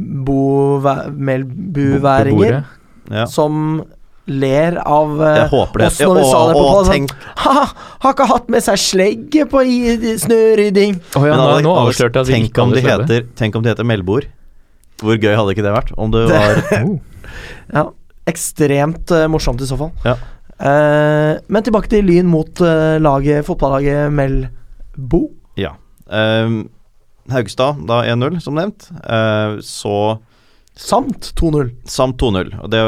S1: melbovæ- melbuværinger
S2: ja.
S1: som ler av eh,
S2: Jeg håper det.
S1: oss når vi
S2: Å,
S1: sa det på
S2: å,
S1: podden, sånn,
S2: tenk
S1: Ha, har ikke hatt med seg slegge på i- i snørydding.
S3: Å ja,
S2: Men
S3: nå,
S2: Alex-
S3: nå
S2: Alex,
S3: avslørte jeg at vi
S2: tenk
S3: ikke
S2: om de
S3: hadde sledde.
S2: heter, Tenk om de heter Melboer. Hvor gøy hadde ikke det vært? Om det var
S3: Oh.
S1: Ekstremt eh, morsomt i så fall.
S2: Ja.
S1: Eh, men tilbake til Lyn mot eh, laget, fotballaget Melbo.
S2: Ja. Ehm, Haugstad, da 1-0, som nevnt. Eh, så
S1: Samt 2-0.
S2: samt 2-0. Og det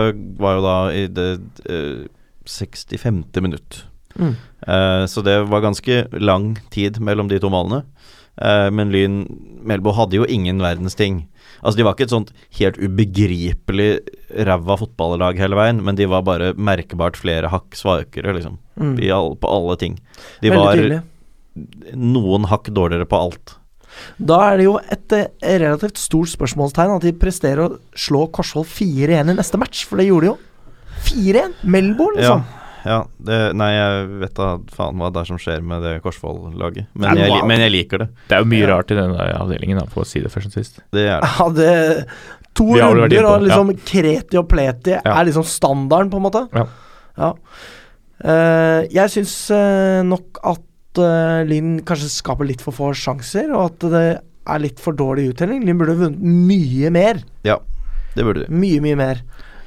S2: var jo da i det eh, 65. minutt.
S1: Mm.
S2: Eh, så det var ganske lang tid mellom de to målene. Eh, men Lyn Melbo hadde jo ingen verdens ting. Altså De var ikke et sånt helt ubegripelig ræva fotballag hele veien, men de var bare merkbart flere hakk svakere, liksom.
S1: Mm.
S2: I all, på alle ting. De
S1: Veldig
S2: var
S1: tydelig.
S2: noen hakk dårligere på alt.
S1: Da er det jo et eh, relativt stort spørsmålstegn at de presterer å slå Korsvoll 4-1 i neste match, for det gjorde de jo. 4-1! Melbo, liksom.
S2: Ja, ja det, Nei, jeg vet da faen hva det er som skjer med det Korsvoll-laget. Men,
S3: Nei,
S2: jeg
S3: wow.
S2: li- men jeg liker det.
S3: Det er jo mye rart i denne avdelingen, da, for å si det først og sist.
S2: Det er det.
S1: Hadde to
S3: Vi har vel vært
S1: runder,
S3: inne på,
S1: og liksom kreti og pleti
S3: Ja.
S1: er liksom standarden, på en måte.
S3: Ja.
S1: Ja. Eh, jeg syns eh, nok at eh, Lyn kanskje skaper litt for få sjanser, og at det er litt for dårlig uttelling. Lyn burde vunnet mye mer.
S2: Det burde de.
S1: Mye, mye mer.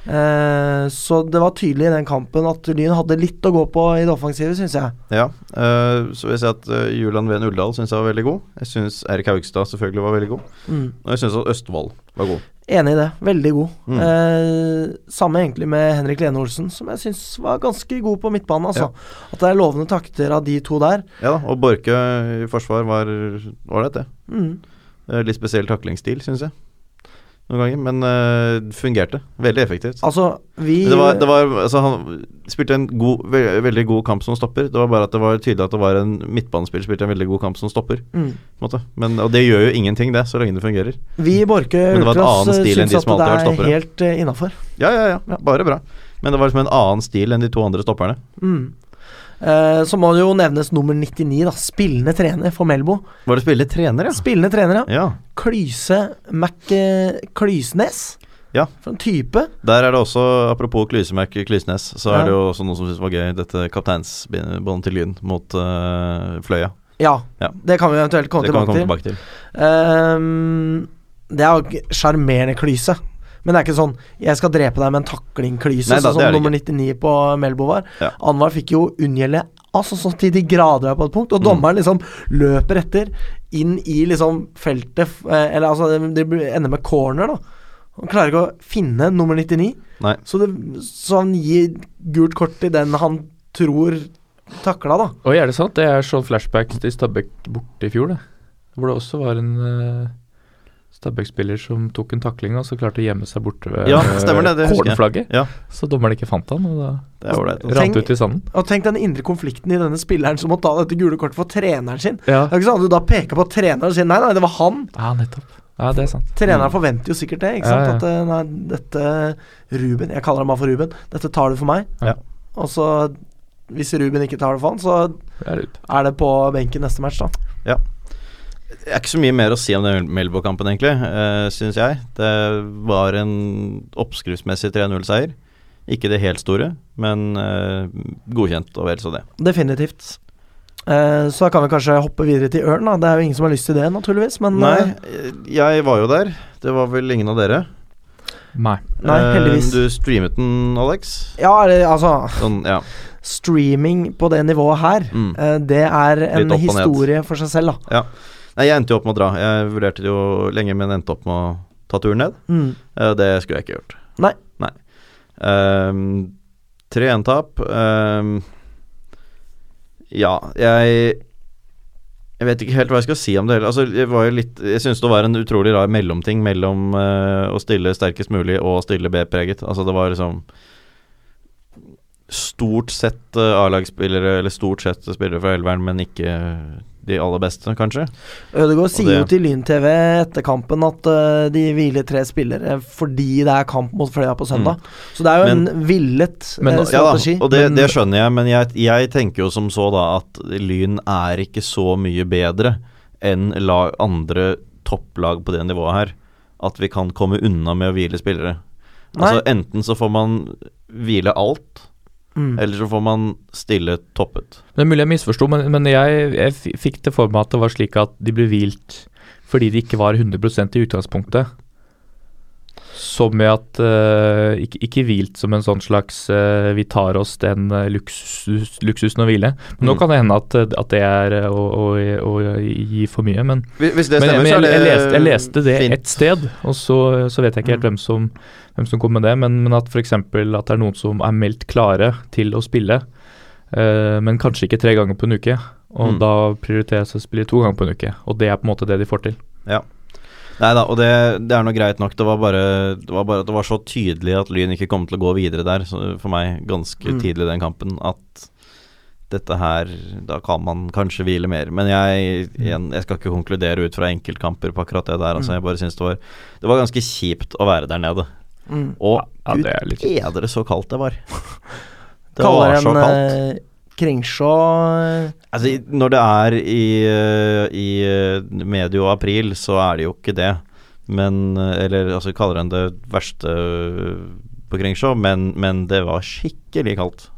S1: Eh, så det var tydelig i den kampen at Lyn hadde litt å gå på i det offensive, syns jeg.
S2: Ja. eh, så vil jeg si at eh, Julian Ven Uldal syns jeg var veldig god. Jeg syns Erik Haugstad selvfølgelig var veldig god.
S1: Mm.
S2: Og jeg syns at Østfold var god.
S1: Enig i det. Veldig god.
S2: Mm.
S1: Eh, samme egentlig med Henrik Lene Olsen, som jeg syns var ganske god på midtbanen. Altså. At det er lovende takter av de to der.
S2: Ja da, Og Borke i forsvar var ålreit, det.
S1: Mm.
S2: Eh, litt spesiell taklingsstil, syns jeg. Noen ganger. Men eh, fungerte. Veldig effektivt.
S1: Altså, vi
S2: Men Det var, det var, altså han spilte en god, ve veldig god kamp som stopper. Det var bare at det var tydelig at det var en midtbanespiller som spilte en veldig god kamp som stopper.
S1: mm.
S2: På en måte. Men, og det gjør jo ingenting, det, så lenge det fungerer.
S1: Vi i Borke
S2: Men det var en
S1: Ultras
S2: annen
S1: eh,
S2: stil
S1: syns
S2: enn de
S1: at
S2: som
S1: det
S2: alltid har vært
S1: er
S2: stoppere.
S1: helt uh, innafor.
S2: Ja, ja, ja. Bare bra. Men det var liksom en annen stil enn de to andre stopperne.
S1: Mm. Eh, så må det jo nevnes nummer 99, da. Spillende trener for Melbo.
S2: Var det spille trener, ja?
S1: Spillende trener, ja.
S2: Ja.
S1: Klyse Mac eh, Klysnes.
S2: Ja.
S1: For en type.
S2: Der er det også, apropos klysemerke Klysnes, så
S1: Ja.
S2: er det jo også noe som synes var gøy, dette kapteinsbåndet til Lyn mot eh, Fløya.
S1: Ja,
S2: Ja.
S1: det kan vi eventuelt komme
S2: det kan vi
S1: tilbake
S2: komme
S1: til.
S2: tilbake til.
S1: Ehm, det er jo ikke sjarmerende klyse. Men det er ikke sånn 'jeg skal drepe deg med en takling-klyse',
S2: Nei da,
S1: sånn
S2: det
S1: som
S2: er det
S1: nummer 99 på Melbo var.
S2: Ja.
S1: Anwar fikk jo unngjelde altså så til de grader her på et punkt,
S2: Mm.
S1: og dommeren liksom løper etter inn i liksom feltet f- eh, Eller altså, det- det blir- ender med corner, da. Han klarer ikke å finne nummer 99,
S2: Nei.
S1: så, det, så han gir gult kort til den han tror takla, da.
S3: Oi, er det sant? Det er sånn flashback til Stabæk borte i fjor, det. Hvor det også var en eh, Stabæk-spiller som tok en takling og så klarte å gjemme seg borte ved
S2: Ja, stemmer det, det
S3: eh,
S2: husker jeg.
S3: cornerflagget.
S2: Ja.
S3: Så dommeren ikke fant han, og da
S2: Det er ålreit. altså.
S1: Tenk-
S3: rant ut i sanden.
S1: Og tenk den indre konflikten i denne spilleren som må ta dette gule kortet for treneren sin.
S3: Ja.
S1: Det er ikke sånn at du da peker på treneren og sier nei, nei, det var han.
S3: ja, nettopp. Ja, det er sant.
S2: Mm.
S1: Treneren forventer jo sikkert det. ikke sant?
S3: Ja, ja.
S1: At eh, nei, dette Ruben Jeg kaller ham bare for Ruben. Dette tar du for meg.
S3: Ja.
S1: Og så, hvis Ruben ikke tar det for han, så
S3: Det er ut.
S1: er det på benken neste match, da.
S2: Det er ikke så mye mer å si om den Melbo-kampen, egentlig, uh, syns jeg. Det var en oppskriftsmessig 3-0-seier. Ikke det helt store, men eh, godkjent og vel så det.
S1: Definitivt. Eh, så da kan vi kanskje hoppe videre til Ørn, da. Det er jo ingen som har lyst til det, naturligvis, men
S2: Nei,
S1: eh,
S2: jeg var jo der. Det var vel ingen av dere.
S3: Nei.
S1: Nei,
S2: Eh,
S1: heldigvis.
S2: Du streamet den, Alex.
S1: Ja, det, altså
S2: Sånn, ja.
S1: Streaming på det nivået her,
S2: Mm.
S1: eh, det er en
S2: opp og ned.
S1: historie for seg selv, da.
S2: Nei, jeg endte jo opp med å dra. Jeg vurderte det jo lenge, men endte opp med å ta turen ned.
S1: Mm.
S2: Eh, Det skulle jeg ikke gjort.
S1: Nei.
S2: Nei. Ehm, 3-1-tap. Ehm, ja, jeg Jeg vet ikke helt hva jeg skal si om det heller. Altså, jeg var jo litt Jeg syns det var en utrolig rar mellomting mellom eh, å stille sterkest mulig og å stille B-preget. Altså, det var liksom Stort sett eh, A-lagsspillere, eller stort sett spillere fra Elveren, men ikke de aller beste, kanskje.
S1: Ødegaard sier
S2: det-
S1: jo til Lyn TV etter kampen at eh, de hviler tre spillere eh, fordi det er kamp mot Fløya på søndag. Så det er jo en villet eh,
S3: Men- ja da,
S2: Mm. Ja da,
S1: strategi.
S2: og det,
S3: men-
S2: det skjønner jeg, men jeg, jeg tenker jo som så da at Lyn er ikke så mye bedre enn la- andre topplag på det nivået her. At vi kan komme unna med å hvile spillere. Altså Enten så får man hvile alt,
S1: mm.
S2: eller så får man stille toppet.
S3: Det er mulig jeg misforsto, men, men jeg, jeg f- fikk det for meg at det var slik at de ble hvilt fordi de ikke var 100 i utgangspunktet. Som i at eh, ikke, ikke hvilt som en sånn slags eh, vi tar oss den eh, luksus, luksusen å hvile. Men Nå
S2: Mm.
S3: kan det hende at, at det er eh, å, å, å gi for mye, men
S2: Hvis- Hvis det stemmer,
S3: men,
S2: så
S3: jeg,
S2: er
S3: men
S2: det
S3: jeg, jeg, leste, jeg leste det
S2: fint. Mm.
S3: ett sted, og så, så vet jeg ikke helt hvem som, hvem som kom med det. Men, men at f.eks. at det er noen som er meldt klare til å spille, eh, men kanskje ikke tre ganger på en uke. Og
S2: Mm.
S3: da prioriteres det å spille to ganger på en uke, og det er på en måte det de får til.
S2: Nei da, og det, det er nå greit nok. Det var, bare, det var bare at det var så tydelig at Lyn ikke kom til å gå videre der, så for meg, ganske
S1: Mm.
S2: tidlig i den kampen, at dette her Da kan man kanskje hvile mer. Men jeg, igjen, jeg skal ikke konkludere ut fra enkeltkamper på akkurat det der. Altså,
S1: Mm.
S2: jeg bare syns det var Det var ganske kjipt å være der nede.
S1: Mm.
S2: Og
S3: Ja,
S2: gud
S3: det er litt kjipt.
S2: edre så kaldt det var. Det
S1: Kaller
S2: var så
S1: en
S2: kaldt.
S1: eh, Kringsjå eh,
S2: Altså, i- når det er i, eh, i eh, medio april, så er det jo ikke det. Men eh, Eller altså, vi kaller den det verste eh, på Kringsjå, men, men det var skikkelig kaldt.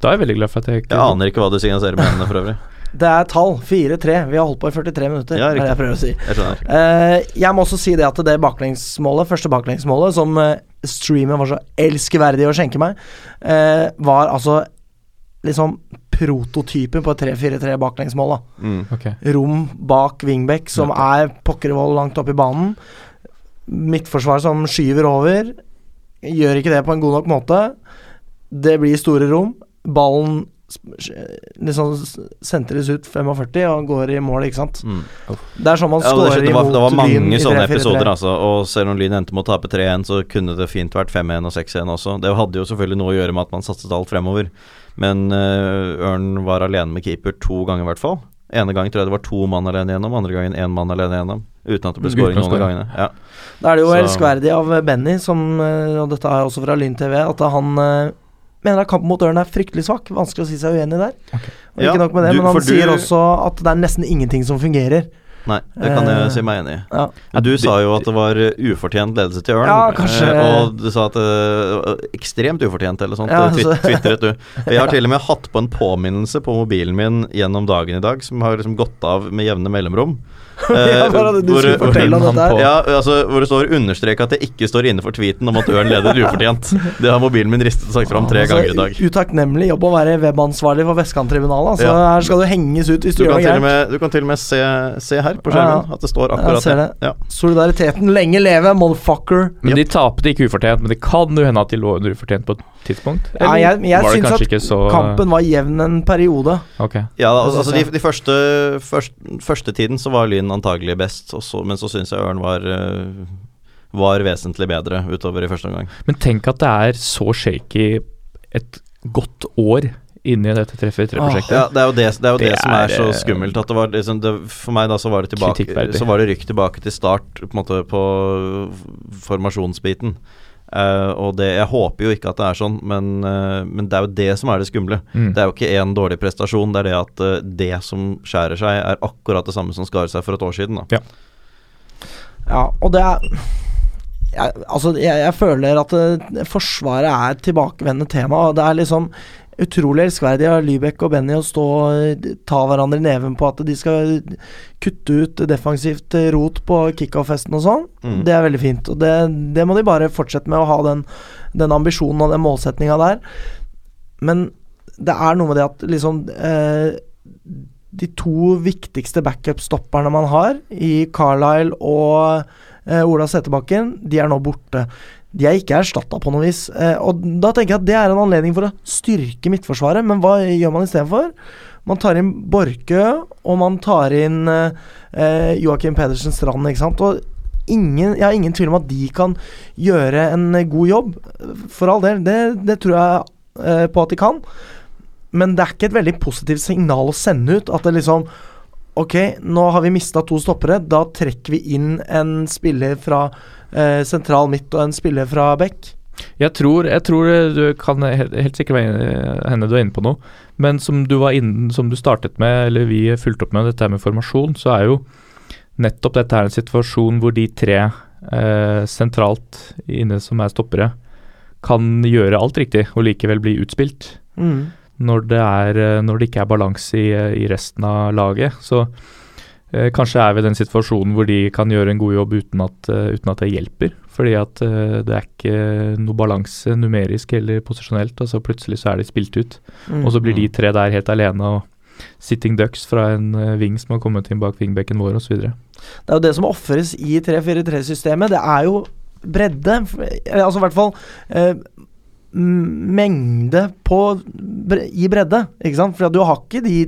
S3: Da er jeg veldig glad for at jeg ikke
S2: Jeg aner ikke hva du signaliserer med henne for øvrig.
S1: Det er tall. 4-3. Vi har holdt på i 43 minutter,
S2: Ja,
S1: er det
S2: riktig.
S1: jeg prøver å si.
S2: Jeg skjønner.
S1: Eh, jeg må også si det at det baklengsmålet, første baklengsmålet, som eh, streamen var så elskeverdig å skjenke meg, eh, var altså liksom prototypen på et 3-4-3-baklengsmål. da
S2: Mm.
S3: Ok.
S1: rom bak wingback som er pokkervold langt oppe i banen. Midtforsvar som skyver over. Gjør ikke det på en god nok måte. Det blir store rom. Ballen sp- sj- liksom s- sentres ut 45 og går i mål, ikke sant.
S2: Mm.
S1: Det er sånn man
S2: Ja, det,
S1: scorer
S2: skjedde, det, var,
S1: imot
S2: det var
S1: Lyn i
S2: mange sånne
S1: 3-4-3.
S2: episoder, altså. Og selv om Lyn endte med å tape 3-1, så kunne det fint vært 5-1 og 6-1 også. Det hadde jo selvfølgelig noe å gjøre med at man satset alt fremover. Men eh, Ørn var alene med keeper to ganger, i hvert fall. Ene gangen tror jeg det var to mann alene gjennom, andre gangen én mann alene gjennom. Uten at det ble
S3: Uten
S2: scoring
S3: å
S2: noen av
S3: score.
S2: gangene. Ja.
S1: Da er det jo
S2: Så-
S1: elskverdig av eh, Benny, som, eh, og dette er jo også fra Lyn TV, at han eh, mener at kampen mot Ørn er fryktelig svak. Vanskelig å si seg uenig der. Og
S2: Ja,
S1: ikke nok med det,
S2: du-
S1: men han
S2: for du-
S1: sier også at det er nesten ingenting som fungerer.
S2: Nei, det kan
S1: Eh,
S2: jeg si meg enig i.
S1: Ja.
S2: Men Du sa jo at det var eh, ufortjent ledelse til Ørn.
S1: Ja, kanskje.
S2: eh, Og du sa at eh, ekstremt ufortjent eller sånt.
S1: Ja,
S2: eh, twit-
S1: altså.
S2: Twitret du. Jeg har til og med hatt på en påminnelse på mobilen min gjennom dagen i dag som har liksom gått av med jevne mellomrom. Eh,
S1: Ja, bare at du skulle fortelle om
S2: han
S1: dette her.
S2: på- Ja, altså, hvor det står 'understrek at det ikke står innenfor tweeten om at Ørn leder ufortjent'. Det har mobilen min ristet og sagt fram tre
S1: Altså,
S2: ganger i dag.
S1: Utakknemlig jobb å være webansvarlig for Vestkanttribunalet. Altså,
S2: Ja.
S1: Her skal du henges ut hvis du,
S2: Du
S1: gjør noe
S2: kan til og
S1: gærent.
S2: med, du kan til og med se, se her på
S1: Ja, ja.
S2: skjermen at det står
S1: Jeg
S2: akkurat
S1: ser
S2: det.
S1: det.
S2: Ja.
S1: Solidariteten lenge leve, motherfucker.
S3: Men de tapte ikke ufortjent, men det kan jo hende at de lå under ufortjent på et tidspunkt.
S1: Ja, jeg jeg
S3: var det
S1: syns
S3: kanskje
S1: at
S3: ikke så
S1: kampen var jevn en periode.
S3: Ok.
S2: Ja, altså,
S1: Det
S2: altså
S1: synes
S2: de, de første, først, første tiden så var Lyn antagelig best, og så- men så syns jeg Ørn var, eh, var vesentlig bedre utover i første omgang.
S3: Men tenk at det er så shaky et godt år inni dette treffer tre-prosjektet.
S2: Ja, det er jo det, det, er jo det,
S3: Det
S2: som er
S3: er,
S2: så
S3: eh,
S2: skummelt. At det var liksom, det, for meg da så var det, tilbake,
S3: Kritikkverdig.
S2: så var det rykk tilbake til start på, en måte, på formasjonsbiten. Eh, og det, jeg håper jo ikke at det er sånn, men, eh, men det er jo det som er det skumle.
S3: Mm.
S2: Det er jo ikke én dårlig prestasjon, det er det at eh, det som skjærer seg, er akkurat det samme som skar seg for et år siden. Da.
S1: Ja, og det er jeg, altså, jeg, jeg føler at eh, Forsvaret er et tilbakevendende tema. Og det er liksom utrolig elskverdig av Lybekk og Benny å stå og ta hverandre i neven på at de skal kutte ut defensivt eh, rot på kickoff-festen og sånn.
S2: Mm.
S1: Det er veldig fint. Og det, det må de bare fortsette med, å ha den, den ambisjonen og den målsettinga der. Men det er noe med det at liksom eh, De to viktigste backup-stopperne man har, i Carlisle og eh, Ola Settebakken, de er nå borte. De er ikke erstatta på noe vis. Eh, og da tenker jeg at det er en anledning for å styrke midtforsvaret, men hva gjør man istedenfor? Man tar inn Borchø, og man tar inn eh, eh, Joakim Pedersen Strand, ikke sant. Og ingen, jeg har ingen tvil om at de kan gjøre en eh, god jobb. For all del, det, det tror jeg eh, på at de kan. Men det er ikke et veldig positivt signal å sende ut. At det liksom Ok, nå har vi mista to stoppere. Da trekker vi inn en spiller fra eh, sentral midt og en spiller fra back.
S3: Jeg tror, jeg tror eh, du kan he- helt sikkert være- hende du er inne på noe, men som du, var inne, som du startet med, eller vi fulgte opp med dette her med formasjon, så er jo nettopp dette her en situasjon hvor de tre eh, sentralt inne som er stoppere, kan gjøre alt riktig og likevel bli utspilt
S1: Mm.
S3: når det, er, eh, når det ikke er balanse i, eh, i resten av laget. Så eh, kanskje er vi i den situasjonen hvor de kan gjøre en god jobb uten at, eh, uten at det hjelper. Fordi at eh, det er ikke noe balanse numerisk eller posisjonelt, og så plutselig så er de spilt ut.
S1: Mm.
S3: Og så blir de tre der helt alene og sitting ducks fra en eh, wing som har kommet inn bak wingbacken vår osv.
S1: Det er jo det som ofres i 3-4-3-systemet. Det er jo bredde, f- eller altså i hvert fall eh, m- mengde på, bre, i bredde, ikke sant? For du har ikke de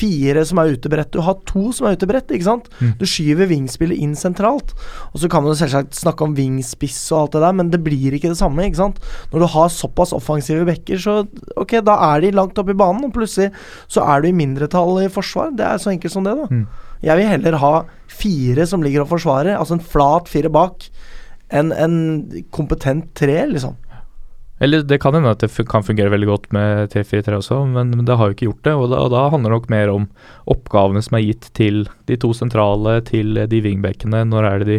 S1: fire som er utebrett, du har to som er utebrett, ikke sant?
S3: Mm.
S1: Du skyver vingspillet inn sentralt. Og så kan man jo selvsagt snakke om vingspiss og alt det der, men det blir ikke det samme, ikke sant? Når du har såpass offensive backer, så ok, da er de langt oppe i banen, og plutselig så er du i mindretall i forsvar. Det er så enkelt som det, da.
S3: Mm.
S1: Jeg vil heller ha fire som ligger og forsvarer, altså en flat fire bak, enn en kompetent tre, liksom.
S3: Eller det kan hende at det fu- kan fungere veldig godt med 3-4-3 også, men, men det har jo ikke gjort det. Og da, og da handler det nok mer om oppgavene som er gitt til de to sentrale, til eh, de wingbackene. Når er det de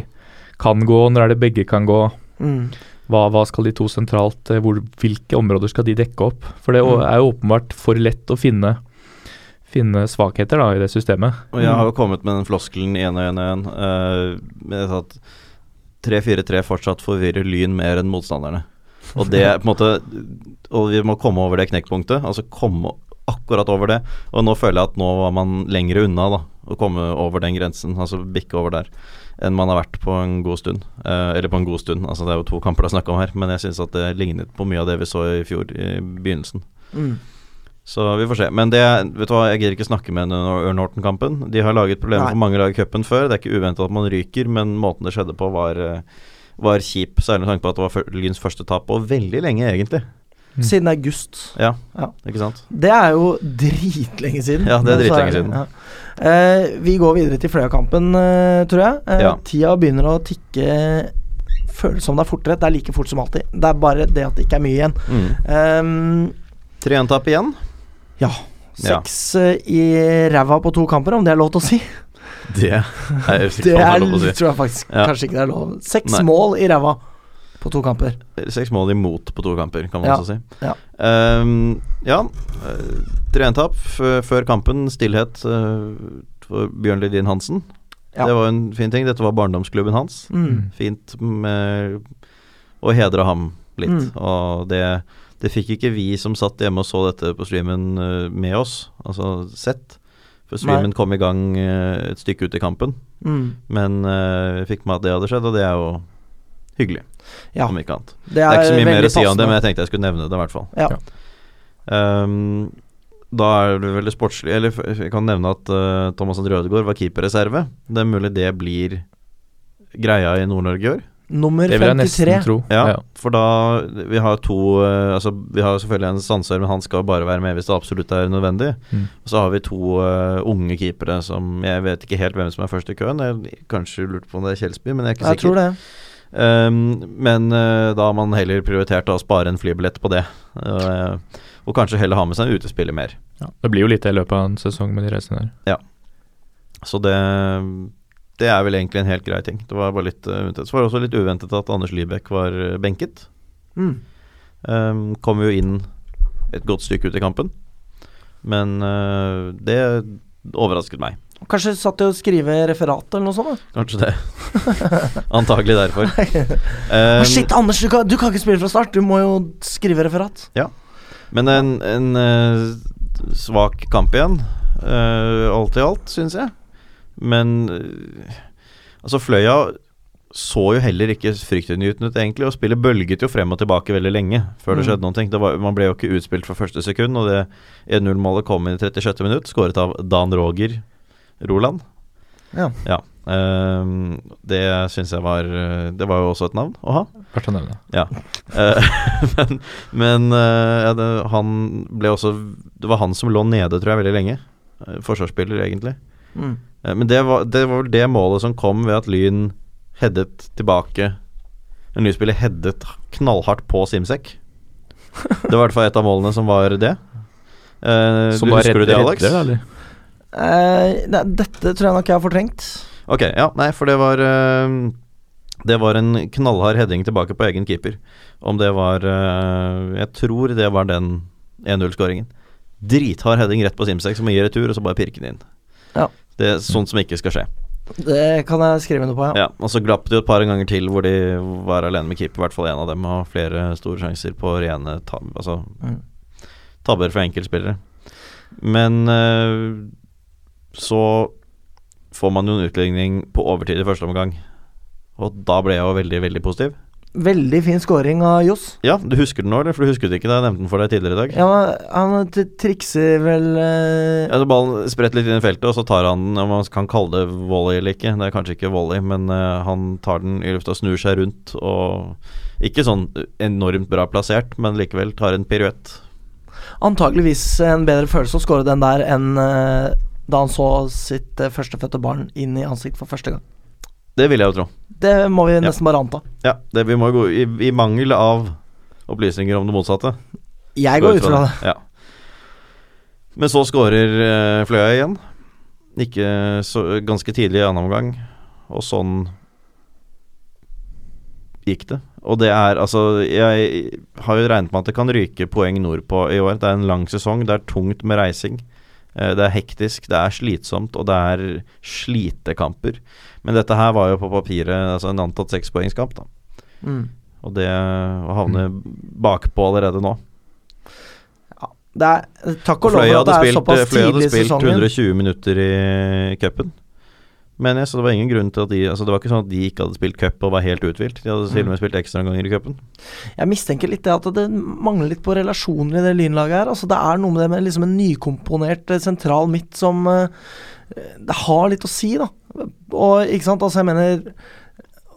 S3: kan gå, når er det begge kan gå.
S1: Mm.
S3: Hva, hva skal de to sentralt eh, hvor, Hvilke områder skal de dekke opp? For det å-
S1: Mm.
S3: er jo åpenbart for lett å finne, finne svakheter da, i det systemet.
S2: Og jeg har jo kommet med den floskelen i 1-1-1 med at 3-4-3 fortsatt forvirrer Lyn mer enn motstanderne. Og det er på en måte Og vi må komme over det knekkpunktet. Altså komme akkurat over det. Og nå føler jeg at nå var man lenger unna da å komme over den grensen, altså bikke over der, enn man har vært på en god stund. Eh, eller på en god stund, altså det er jo to kamper det er snakk om her, men jeg syns at det lignet på mye av det vi så i fjor i begynnelsen.
S1: Mm.
S2: Så vi får se. Men det, vet du hva, jeg gidder ikke snakke med Ørn Horten-kampen. De har laget problemer
S1: Nei.
S2: for mange lag i cupen før. Det er ikke uventa at man ryker, men måten det skjedde på, var, eh, var kjip. Særlig med tanke på at det var fyr- Lyns første tap på veldig lenge, egentlig.
S3: Mm.
S1: Siden august.
S2: Ja,
S1: Ja.
S2: ikke sant?
S1: Det er jo dritlenge siden.
S2: Ja, det
S1: Men
S2: er
S1: så
S2: dritlenge siden.
S1: ja. Eh, vi går videre til Fløya-kampen, eh, tror jeg. Eh,
S2: Ja.
S1: Tida begynner å tikke. Føles som det er fortere. Det er like fort som alltid. Det er bare det at det ikke er mye igjen.
S2: Mm.
S1: Ehm,
S2: 3-1-tap igjen.
S1: ja.
S2: Ja.
S1: Seks eh, i ræva på to kamper, om det er lov til å si.
S2: Det er jeg
S1: Det
S2: sikker på
S1: er,
S2: at det er lov å si.
S1: tror jeg faktisk
S2: Ja.
S1: kanskje ikke det er lov. Seks
S2: Nei.
S1: mål i ræva på to kamper.
S2: Seks mål imot på to kamper, kan man
S1: Ja,
S2: også si.
S1: ja.
S2: Ehm, ja. eh, 3-1-tap f- før kampen. Stillhet eh, for Bjørn Lidin Hansen.
S1: Ja.
S2: Det var jo en fin ting. Dette var barndomsklubben hans.
S1: Mm.
S2: Fint med å hedre ham litt.
S1: Mm.
S2: Og det, det fikk ikke vi som satt hjemme og så dette på streamen eh, med oss, altså sett. For streamen kom i gang eh, et stykke ut i kampen.
S1: Mm.
S2: Men eh, vi fikk med at det hadde skjedd, og det er jo hyggelig,
S1: Ja.
S2: om ikke annet.
S1: Det
S2: Det er ikke så mye mer
S1: veldig
S2: å si om det, men
S1: passende.
S2: jeg tenkte jeg skulle nevne det, i hvert fall.
S1: Ja.
S3: Ja.
S2: Ehm, da er det veldig sportslig Eller f- jeg kan nevne at eh, Thomas André Ødegaard var keeperreserve. Det er mulig det blir greia i Nord-Norge i år.
S1: Nummer
S3: Det vil jeg nesten
S1: 53.
S3: tro.
S2: Ja, for da Vi har jo to eh, Altså, vi har jo selvfølgelig en Sandsør, men han skal bare være med hvis det absolutt er nødvendig.
S3: Mm.
S2: Og så har vi to eh, unge keepere som Jeg vet ikke helt hvem som er først i køen. Jeg kanskje lurte på om det er Kjelsby, men jeg er ikke
S1: Jeg
S2: sikker.
S1: tror det.
S2: Ehm, men eh, da har man heller prioritert å spare en flybillett på det. Eh, og kanskje heller ha med seg en utespiller mer.
S3: Ja. Det blir jo lite i løpet av en sesong med de reisene der.
S2: Så det, det er vel egentlig en helt grei ting. Det var bare litt eh, uventet. Så var det også litt uventet at Anders Lybekk var eh, benket.
S1: Mm.
S2: Ehm, kom jo inn et godt stykke ut i kampen. Men eh, det overrasket meg.
S1: Kanskje satt til å skrive referat eller noe sånt?
S2: Kanskje det. Antagelig derfor.
S1: da
S2: Ehm,
S1: Shit, Anders, du kan, du kan ikke spille fra start! Du må jo skrive referat.
S2: Men en, en eh, svak kamp igjen, eh, alt i alt, syns jeg. Men eh, altså, Fløya så jo heller ikke fryktinngytende ut, egentlig. Og spillet bølget jo frem og tilbake veldig lenge før det
S1: Mm.
S2: skjedde noen ting. Det var, man ble jo ikke utspilt fra første sekund, og det 1-0-målet kom inn i 36. minutt, skåret av Dan Roger Roland.
S1: Ja.
S2: Eh, det syns jeg var eh, Det var jo også et navn å ha.
S3: Verdt å nevne.
S2: Eh, men men eh, ja, det, han ble også Det var han som lå nede, tror jeg, veldig lenge. Eh, Forsvarsspiller, egentlig.
S1: Mm.
S2: Eh, Men det var, det var vel det målet som kom ved at Lyn headet tilbake En Lynspiller headet knallhardt på Simsek. Det var i hvert fall et av målene som var det. Eh,
S3: Som
S2: du
S3: bare
S2: husker du
S3: redder,
S2: det, Alex?
S3: redder, eller?
S1: Eh, nei, dette tror jeg nok jeg har fortrengt.
S2: Ok, ja, nei, for det var eh, Det var en knallhard heading tilbake på egen keeper. Om det var eh, Jeg tror det var den 1-0-skåringen. Drithard heading rett på Simsek, som gir retur, og så bare pirke den inn.
S1: Ja.
S2: Det er sånt som ikke skal skje.
S1: Det kan jeg skrive noe på, ja.
S2: Ja, og så glapp det jo et par ganger til hvor de var alene med keeper, i hvert fall én av dem, og flere store sjanser på rene tab altså,
S1: Mm.
S2: tabber fra enkeltspillere. Men eh, så får man jo en utligning på overtid i første omgang, og da ble jeg jo veldig, veldig positiv.
S1: Veldig fin scoring av Johs.
S2: Ja, du husker den nå, eller? For du husket ikke da jeg nevnte den for deg tidligere i dag.
S1: Ja, men han t- trikser vel eh,
S2: Ja, så Ballen spredt litt inn i feltet, og så tar han den, om man kan kalle det volley eller ikke. Det er kanskje ikke volley, men eh, han tar den i lufta, snur seg rundt og Ikke sånn enormt bra plassert, men likevel tar en piruett.
S1: Antakeligvis en bedre følelse å score den der enn eh, da han så sitt eh, førstefødte barn inn i ansikt for første gang.
S2: Det vil jeg jo tro.
S1: Det må vi nesten bare anta.
S2: Ja, det vi må gå i, i mangel av opplysninger om det motsatte.
S1: Jeg går ut fra det.
S2: Ja. Men så skårer eh, Fløya igjen. Ikke så, ganske tidlig i annen omgang. Og sånn gikk det. Og det er altså Jeg har jo regnet med at det kan ryke poeng nordpå i år. Det er en lang sesong. Det er tungt med reising. Eh, Det er hektisk, det er slitsomt, og det er slitekamper. Men dette her var jo på papiret altså en antatt sekspoengskamp, da.
S1: Mm.
S2: Og det å havne bakpå allerede nå
S1: Det er, takk og lov
S2: Fløya
S1: for at
S2: hadde
S1: det er
S2: spilt, eh,
S1: såpass
S2: Fløy
S1: tidlig
S2: hadde
S1: i
S2: spilt
S1: sesongen.
S2: 120 minutter i cupen, mener jeg, så det var ingen grunn til at de Altså Det var ikke sånn at de ikke hadde spilt cup og var helt uthvilt. De hadde
S1: Mm.
S2: til og med spilt ekstraomganger i cupen.
S1: Jeg mistenker litt det at det mangler litt på relasjoner i det lynlaget her. Altså, det er noe med det med liksom en nykomponert eh, sentral midt som eh, Det har litt å si, da. Og ikke sant, altså jeg mener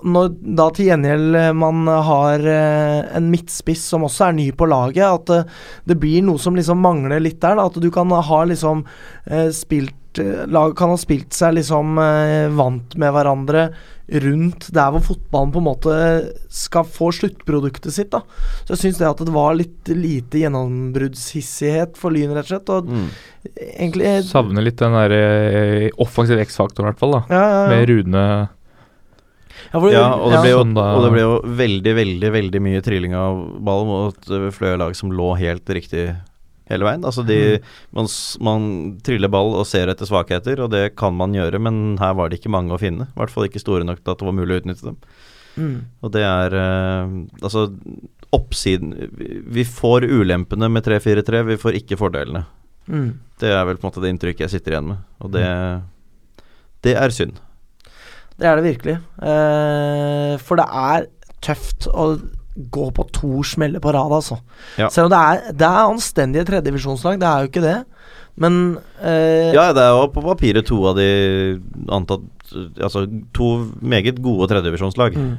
S1: når da til gjengjeld eh, man har eh, en midtspiss som også er ny på laget, at eh, det blir noe som liksom mangler litt der. Da, at du kan ha liksom eh, spilt eh, Lag kan ha spilt seg liksom eh, vant med hverandre rundt der hvor fotballen på en måte skal få sluttproduktet sitt. da. Så jeg syns det at det var litt lite gjennombruddshissighet for Lyn, rett og slett. Og
S2: Mm.
S1: egentlig
S3: Savner litt den der eh, offensive X-faktoren, i hvert fall. da
S1: ja, ja, ja.
S3: Med Rune
S1: Ja, hvor-
S2: Ja, og det,
S1: ja.
S2: ble jo,
S3: Sånn da-
S2: og det ble jo veldig, veldig veldig mye trilling av ball mot eh, Fløy lag som lå helt riktig hele veien. Altså
S1: Mm.
S2: de, man, s- man triller ball og ser etter svakheter, og det kan man gjøre, men her var det ikke mange å finne. I hvert fall ikke store nok til at det var mulig å utnytte dem.
S1: Mm.
S2: Og det er eh, Altså, oppsiden vi- Vi får ulempene med 3-4-3, vi får ikke fordelene.
S1: Mm.
S2: Det er vel på en måte det inntrykket jeg sitter igjen med, og det Det er synd.
S1: Det er det virkelig. Eh, for det er tøft å gå på to smeller på rad, altså.
S2: Ja.
S1: Selv om det er, det er anstendige tredjedivisjonslag, det er jo ikke det. Men eh,
S2: Ja, det er jo på papiret to av de antatt Altså to meget gode tredjedivisjonslag.
S1: Mm.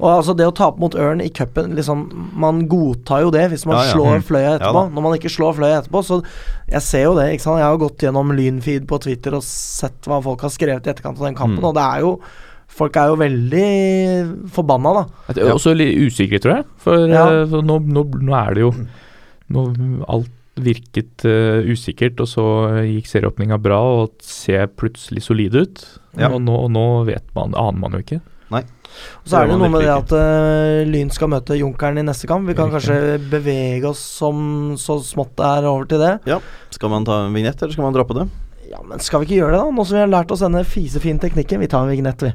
S1: Og altså det å tape mot Ørn i cupen liksom, Man godtar jo det hvis man
S2: Ja, ja.
S1: slår
S2: Mm.
S1: Fløya
S2: Ja
S1: etterpå.
S2: da.
S1: Når man ikke slår Fløya etterpå, så Jeg ser jo det, ikke sant. Jeg har gått gjennom Lynfeed på Twitter og sett hva folk har skrevet i etterkant av den kampen,
S2: Mm.
S1: og det er jo Folk er jo veldig forbanna, da.
S3: Det er Også litt usikre, tror jeg. For,
S1: Ja.
S3: eh, for nå, nå, nå er det jo nå, Alt virket eh, usikkert, og så gikk serieåpninga bra og ser plutselig solide ut.
S2: Ja.
S3: Og nå, og nå vet man, aner man jo ikke.
S1: Og så er det
S2: Det gjør
S1: noe
S2: man
S1: med det
S2: virkelig
S1: at eh, Lyn skal møte Junkeren i neste kamp. Vi kan
S3: Riktig.
S1: kanskje bevege oss som så smått det er over til det.
S2: Skal man ta en vignett, eller skal man droppe det?
S1: Ja, men skal vi ikke gjøre det, da? Nå som vi har lært oss denne fisefine teknikken. Vi tar en vignett, vi.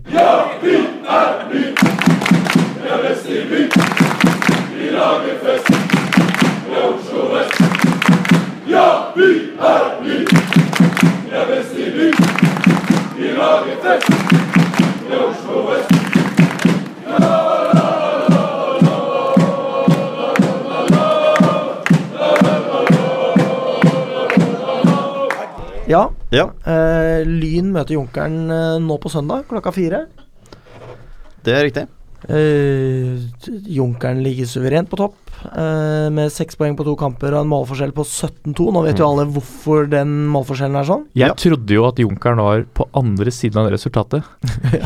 S1: Ja.
S2: Ja,
S1: eh, Lyn møter Junkeren eh, nå på søndag klokka fire.
S2: det er riktig.
S1: Eh, Junkeren ligger suverent på topp, eh, med seks poeng på to kamper og en målforskjell på 17-2. Nå vet jo alle hvorfor den målforskjellen er sånn.
S3: Jeg
S2: Ja.
S3: trodde jo at Junkeren var på andre siden av det resultatet,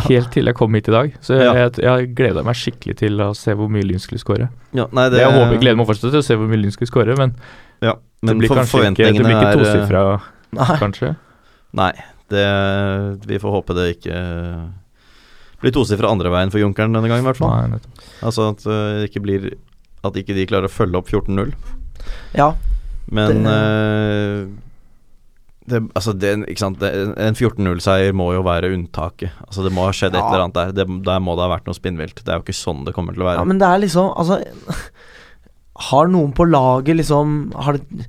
S3: helt til jeg kom hit i dag. Så jeg,
S2: Ja.
S3: jeg, jeg gleda meg skikkelig til å se hvor mye Lyn skulle skåre.
S2: Ja, nei, det,
S3: Jeg håper, gleder meg fortsatt til å se hvor mye Lyn skulle skåre, men,
S2: Ja,
S3: det
S2: men
S3: blir
S2: for
S3: kanskje ikke, det blir
S2: forventningene
S3: ikke
S2: er, eh,
S3: tosifra,
S1: eh, Nei.
S3: kanskje.
S2: Nei, det, vi får håpe det ikke blir tosifra andre veien for Junkeren denne gangen, i hvert fall.
S3: Nei, nettopp.
S2: Altså at eh, det ikke blir At ikke de klarer å følge opp 14-0.
S1: Ja,
S2: Men
S1: Det-
S2: det, det, altså det, ikke sant? det En 14-0-seier må jo være unntaket. Altså Det må ha skjedd et
S1: Ja.
S2: eller annet der. Det, der må det ha vært noe spinnvilt. Det er jo ikke sånn det kommer til å
S1: Ja,
S2: være.
S1: men det er liksom Altså Har noen på laget liksom Har, det-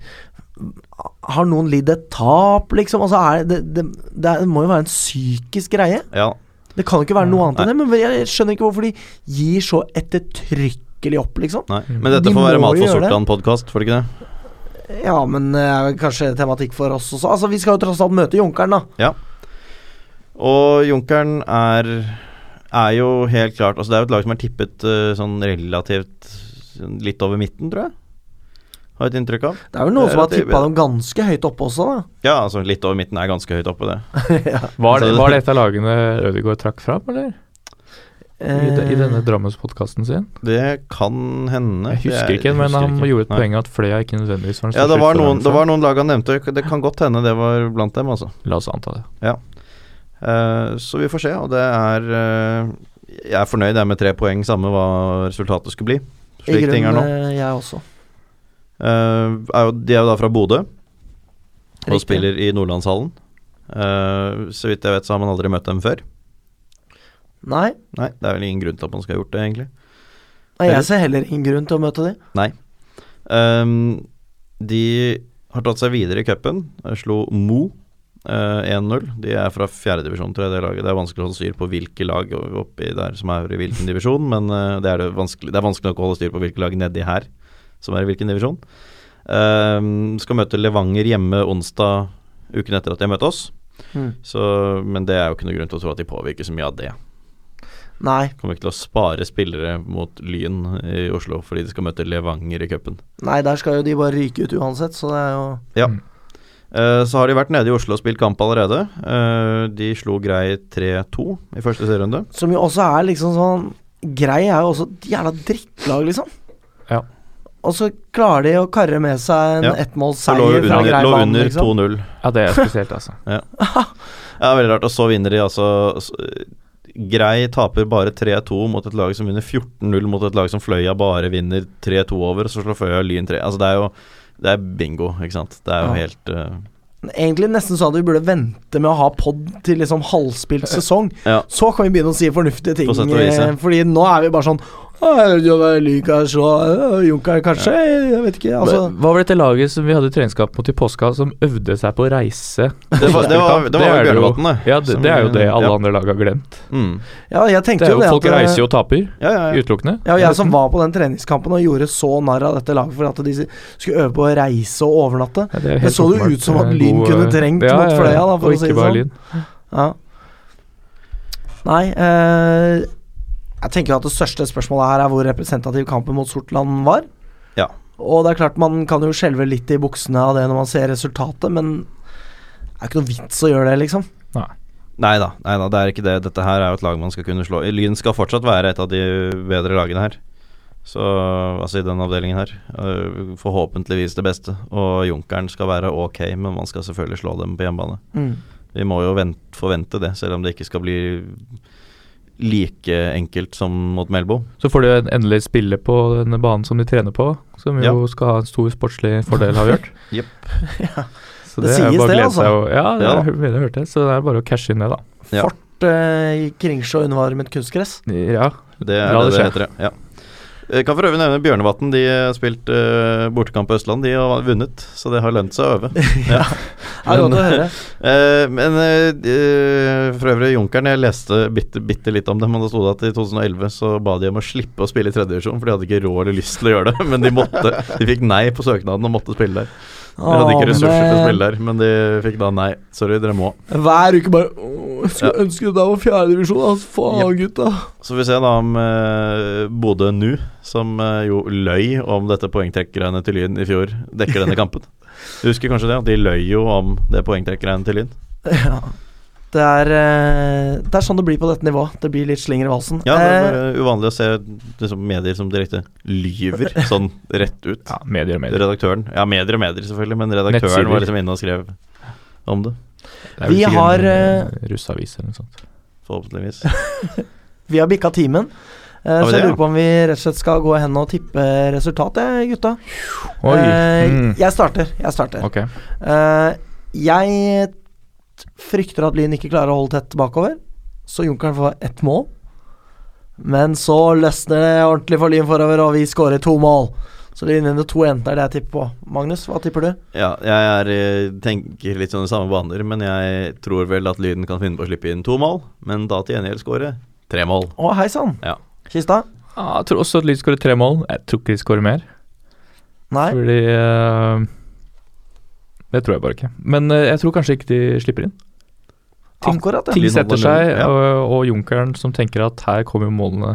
S1: har noen lidd et tap, liksom? Altså er det, det, det, er, det må jo være en psykisk greie.
S2: Ja,
S1: Det kan jo ikke være noe annet enn det. Men jeg skjønner ikke hvorfor de gir så ettertrykkelig opp, liksom.
S2: nei. Men dette
S1: De
S2: får være
S1: må
S2: mat
S1: jo
S2: for
S1: gjøre det.
S2: Sortland-podkast, får det ikke det?
S1: Ja, men det er vel kanskje tematikk for oss også. Altså, vi skal jo tross alt møte Junkeren, da.
S2: Og Junkeren er, er jo helt klart Altså Det er jo et lag som er tippet eh, sånn relativt sånn litt over midten, tror jeg. Har jeg et inntrykk av.
S1: Det er vel noen
S2: Det er
S1: som har
S2: relativt
S1: tippa dem ganske høyt oppe også, da.
S2: Ja, altså litt over midten er ganske høyt oppe, det.
S3: Var, det,
S2: Altså-
S3: var dette lagene Ødegaard trakk fram, eller? I, de, i denne
S1: Eh,
S3: Drammens-podkasten sin?
S2: Det kan hende.
S3: Jeg husker
S2: Det er-
S3: ikke, men
S2: husker
S3: han
S2: ikke.
S3: gjorde et
S2: Nei.
S3: poeng av at Fløya ikke nødvendigvis var den
S2: Ja,
S3: største
S2: det var, noen,
S3: utfordreren
S2: det
S3: for
S2: var
S3: ham.
S2: noen lag han nevnte. Det kan godt hende det var blant dem, altså.
S3: La oss anta det.
S2: Eh, så vi får se, og det er eh, Jeg er fornøyd jeg er med tre poeng, samme hva resultatet skulle bli.
S1: I
S2: Slik ting er nå.
S1: grunnen, eh, jeg også.
S2: Eh, er jo, de er jo da fra Bodø og
S1: Riktig.
S2: spiller i Nordlandshallen. Eh, så vidt jeg vet, så har man aldri møtt dem før.
S1: Nei,
S2: Nei, det er vel ingen grunn til at man skal ha gjort det, egentlig.
S1: nei, jeg ser heller ingen grunn til å møte de.
S2: Ehm, de har tatt seg videre i cupen. Eh, Slo Mo eh, 1-0. De er fra fjerdedivisjon, tror jeg. Det, laget. det er vanskelig å holde styr på hvilke lag o- oppi der som er i hvilken divisjon, men eh, det, er det, vanskelig, det er vanskelig nok å holde styr på hvilke lag nedi her som er i hvilken divisjon. Ehm, skal møte Levanger hjemme onsdag uken etter at de har møtt oss.
S1: Mm.
S2: Så, men det er jo ikke noe grunn til å tro at de påvirker så mye av det.
S1: Nei,
S2: Kommer ikke til å spare spillere mot Lyn i Oslo fordi de skal møte Levanger i cupen.
S1: nei, der skal jo de bare ryke ut uansett, så det er jo
S2: Ja.
S3: Mm.
S2: Eh, Eh, Så har de vært nede i Oslo og spilt kamp allerede. Eh, De slo grei 3-2 i første serierunde.
S1: Som jo også er liksom sånn Grei er jo også et jævla drittlag, liksom.
S3: Ja.
S1: Og så klarer de å karre med seg en
S2: Ja. Så lå jo
S1: ettmålsseier fra
S2: under,
S1: grei
S2: lå
S1: banen,
S2: under
S1: liksom.
S2: 2-0.
S3: Ja, det er spesielt, altså.
S2: Ja, veldig rart. Og så vinner de altså s- Grei taper bare 3-2 mot et lag som vinner 14-0 mot et lag som Fløya bare vinner 3-2 over, så slår Fløya Lyn 3. Altså, det er jo det er bingo, ikke sant. Det er jo
S1: Ja.
S2: helt eh,
S1: Egentlig nesten sånn at vi burde vente med å ha pod til liksom halvspilt sesong.
S2: Ja.
S1: Så kan vi begynne å si fornuftige ting.
S2: På sett og vis, ja.
S1: eh, Fordi nå er vi bare sånn «Å, du er Lykas og øh, Junker, kanskje? Jeg vet ikke. Altså,
S3: Men Hva var dette laget som vi hadde treningskamp mot i påska, som øvde seg på å reise?
S2: Det var, det var, det var
S3: er
S2: vel
S3: jo-
S2: Bjørnevatn, det.
S3: Ja, det,
S2: Som-
S3: det er jo det alle
S2: ja.
S3: andre lag har glemt.
S2: Mm.
S1: ja, jeg
S3: Det
S1: tenkte
S3: er
S1: jo
S3: jo
S1: det
S3: Folk
S1: at eh,
S3: reiser jo og taper,
S2: Ja, ja, ja.
S3: utelukkende.
S1: Ja, og jeg som var på den treningskampen og gjorde så narr av dette laget for at de skulle øve på å reise og overnatte.
S3: Ja, det er jo
S1: Det
S3: helt
S1: så jo
S3: åpenbart,
S1: ut som at
S3: eh,
S1: Lyn
S3: god,
S1: kunne
S3: eh,
S1: trengt mot Fløya, da, for å
S3: og
S1: si
S3: ikke
S1: det
S3: bare
S1: sånn.
S3: Lyn.
S1: Ja. Nei eh, Jeg tenker jo at det største spørsmålet her er hvor representativ kampen mot Sortland var.
S2: Ja.
S1: Og det er klart man kan jo skjelve litt i buksene av det når man ser resultatet, men det er ikke noe vits å gjøre det, liksom.
S2: Nei da, nei da, det er ikke det. Dette her er jo et lag man skal kunne slå. Lyn skal fortsatt være et av de bedre lagene her. Så, altså i den avdelingen her. Øh, Forhåpentligvis det beste. Og Junkeren skal være ok, men man skal selvfølgelig slå dem på hjemmebane. Vi må jo vent, forvente det, selv om det ikke skal bli like enkelt som mot Melbo.
S3: Så får de jo en- endelig spille på denne banen som de trener på, som jo skal ha en stor sportslig fordel, har vi hørt.
S2: Jep.
S3: Så
S1: Det
S3: det, er
S1: sies
S3: jo bare å
S1: det,
S3: glede seg
S1: altså.
S3: og Ja, det
S2: Ja.
S3: har jeg hørt- hørt det, så det er bare å cashe inn det, da.
S2: Ja.
S1: Fort eh, Kringsjå undervarmet kunstgress.
S3: Ja,
S2: Det er
S3: La
S2: det
S3: det
S2: det
S3: skje.
S2: heter, ja. Jeg kan for øvrig nevne Bjørnevatn. De har spilt øh, bortekamp på Østland. De har vunnet, så det har lønt seg å øve.
S1: Er det godt å høre.
S2: Eh, men eh, eh, for øvrig, Junkeren, jeg leste bitte, bitte litt om dem. Men det sto det at i 2011 så ba de om å slippe å spille i tredje divisjon, for de hadde ikke råd eller lyst til å gjøre det. Men de måtte De fikk nei på søknaden og måtte spille der. De hadde ikke ressurser til å
S1: Amen.
S2: spille der, men de fikk da nei. Sorry, dere må.
S1: eh, Hver uke bare «Åh, jeg Skulle ønske det var fjerdedivisjon, altså. Faen, gutta.
S2: Så får vi se da om eh, Bodø NU, som eh, jo løy om dette poengtrekkgreiene til Lyn i fjor, dekker denne kampen. Du husker kanskje det? At de løy jo om det poengtrekkgreiene til Lyn.
S1: Ja. Det er, eh, det er sånn det blir på dette nivået. Det blir litt slinger i valsen.
S2: Ja, det er
S1: Eh,
S2: bare uvanlig å se liksom, medier som direkte lyver sånn rett ut.
S3: ja medier og medier.
S2: Redaktøren Ja, medier og medier, selvfølgelig, men redaktøren
S3: Nettsider.
S2: var liksom inne og skrev om det,
S3: Det er vel
S1: Vi
S3: sikkert
S1: har,
S3: en, eh, Russeavis eller noe sånt.
S2: forhåpentligvis.
S1: vi har bikka timen. Eh,
S2: Har vi
S1: så jeg
S2: det, ja?
S1: lurer på om vi rett og slett skal gå hen og tippe resultatet, gutta.
S3: Oi.
S1: Eh,
S3: mm.
S1: Jeg starter. Jeg starter.
S3: Ok.
S1: Eh, jeg t- frykter at Lyn ikke klarer å holde tett bakover, så Junkeren får ett mål. Men så løsner det ordentlig for Lyn forover, og vi skårer to mål. Så Lyn vinner 2-1. Det er det jeg tipper på. Magnus, hva tipper du?
S2: Ja, jeg er, eh, tenker litt sånne samme baner, men jeg tror vel at Lyden kan finne på å slippe inn to mål, men da til gjengjeld skåre tre mål.
S1: Å, hei sann.
S2: Ja.
S1: Kista?
S3: Ja, jeg tror også at Lyn skårer tre mål. Jeg tror ikke de skårer mer.
S1: Nei.
S3: Fordi eh, Det tror jeg bare ikke. Men eh, jeg tror kanskje ikke de slipper inn. Ting-
S1: Akkurat, ja.
S3: Ting
S2: Lyn holder
S3: setter seg,
S2: null, ja.
S3: og, og Junkeren som tenker at her kommer målene.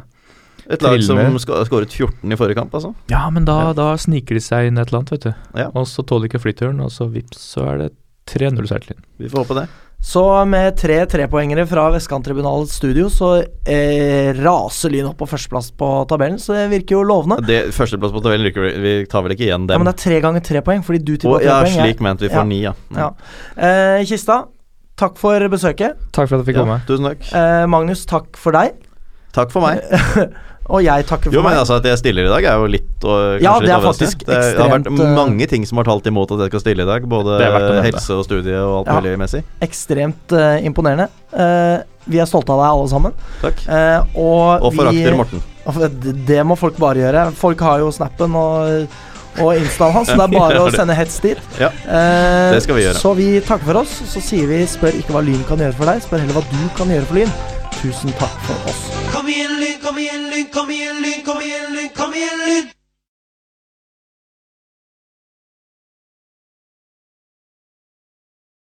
S2: Et lag som
S3: Trillende.
S2: ska- skåret 14 i forrige kamp, altså.
S3: Ja, men da, da sniker de seg inn et eller annet, vet du.
S2: Ja.
S3: Og så tåler de ikke flyturen, og så vips, så er det 3-0 seier til Lyn.
S2: Vi får håpe det.
S1: Så med tre trepoengere fra Vestkanttribunalets studio, så eh, raser Lyn opp på førsteplass på tabellen, så det virker jo lovende.
S2: det Førsteplass på tabellen rykker vi Vi tar vel ikke igjen
S1: Ja,
S2: dem.
S1: men det er tre ganger tre poeng, fordi du tippa
S2: Å,
S1: tre
S2: ja,
S1: poeng. jeg-
S2: slik mente vi
S1: Ja.
S2: får ni, ja.
S1: Ja. Eh, Kista, takk for besøket.
S3: Takk for at jeg fikk komme.
S2: ja. Tusen takk.
S1: Eh, Magnus, takk for deg.
S2: Takk for meg.
S1: Og jeg takker for
S2: Jo, men
S1: meg.
S2: altså At jeg stiller i dag, er jo litt og,
S1: Ja,
S2: kanskje
S1: det
S2: litt
S1: er faktisk
S2: overraskende. Det, det har vært
S1: ekstremt, eh,
S2: mange ting som har talt imot at jeg skal stille i dag. Både
S3: Det er verdt å nevne.
S2: helse og studie og alt
S1: Ja.
S2: mulig messig.
S1: Ekstremt eh, imponerende. Eh, vi er stolte av deg, alle sammen.
S2: Takk.
S1: Eh, og
S2: Og forakter
S1: vi,
S2: Morten.
S1: Og Det det må folk bare gjøre. Folk har jo snappen og, og instaen hans, så det er
S2: Ja,
S1: bare å
S2: det-
S1: sende hets dit.
S2: Ja,
S1: Eh,
S2: det skal vi gjøre.
S1: Så vi takker for oss. Så sier vi spør ikke hva Lyn kan gjøre for deg, spør heller hva du kan gjøre for Lyn. Tusen takk for oss.
S6: Kom igjen, lyn, kom igjen, lyn, kom igjen, lyn, kom igjen, lyn, kom igjen, lyn!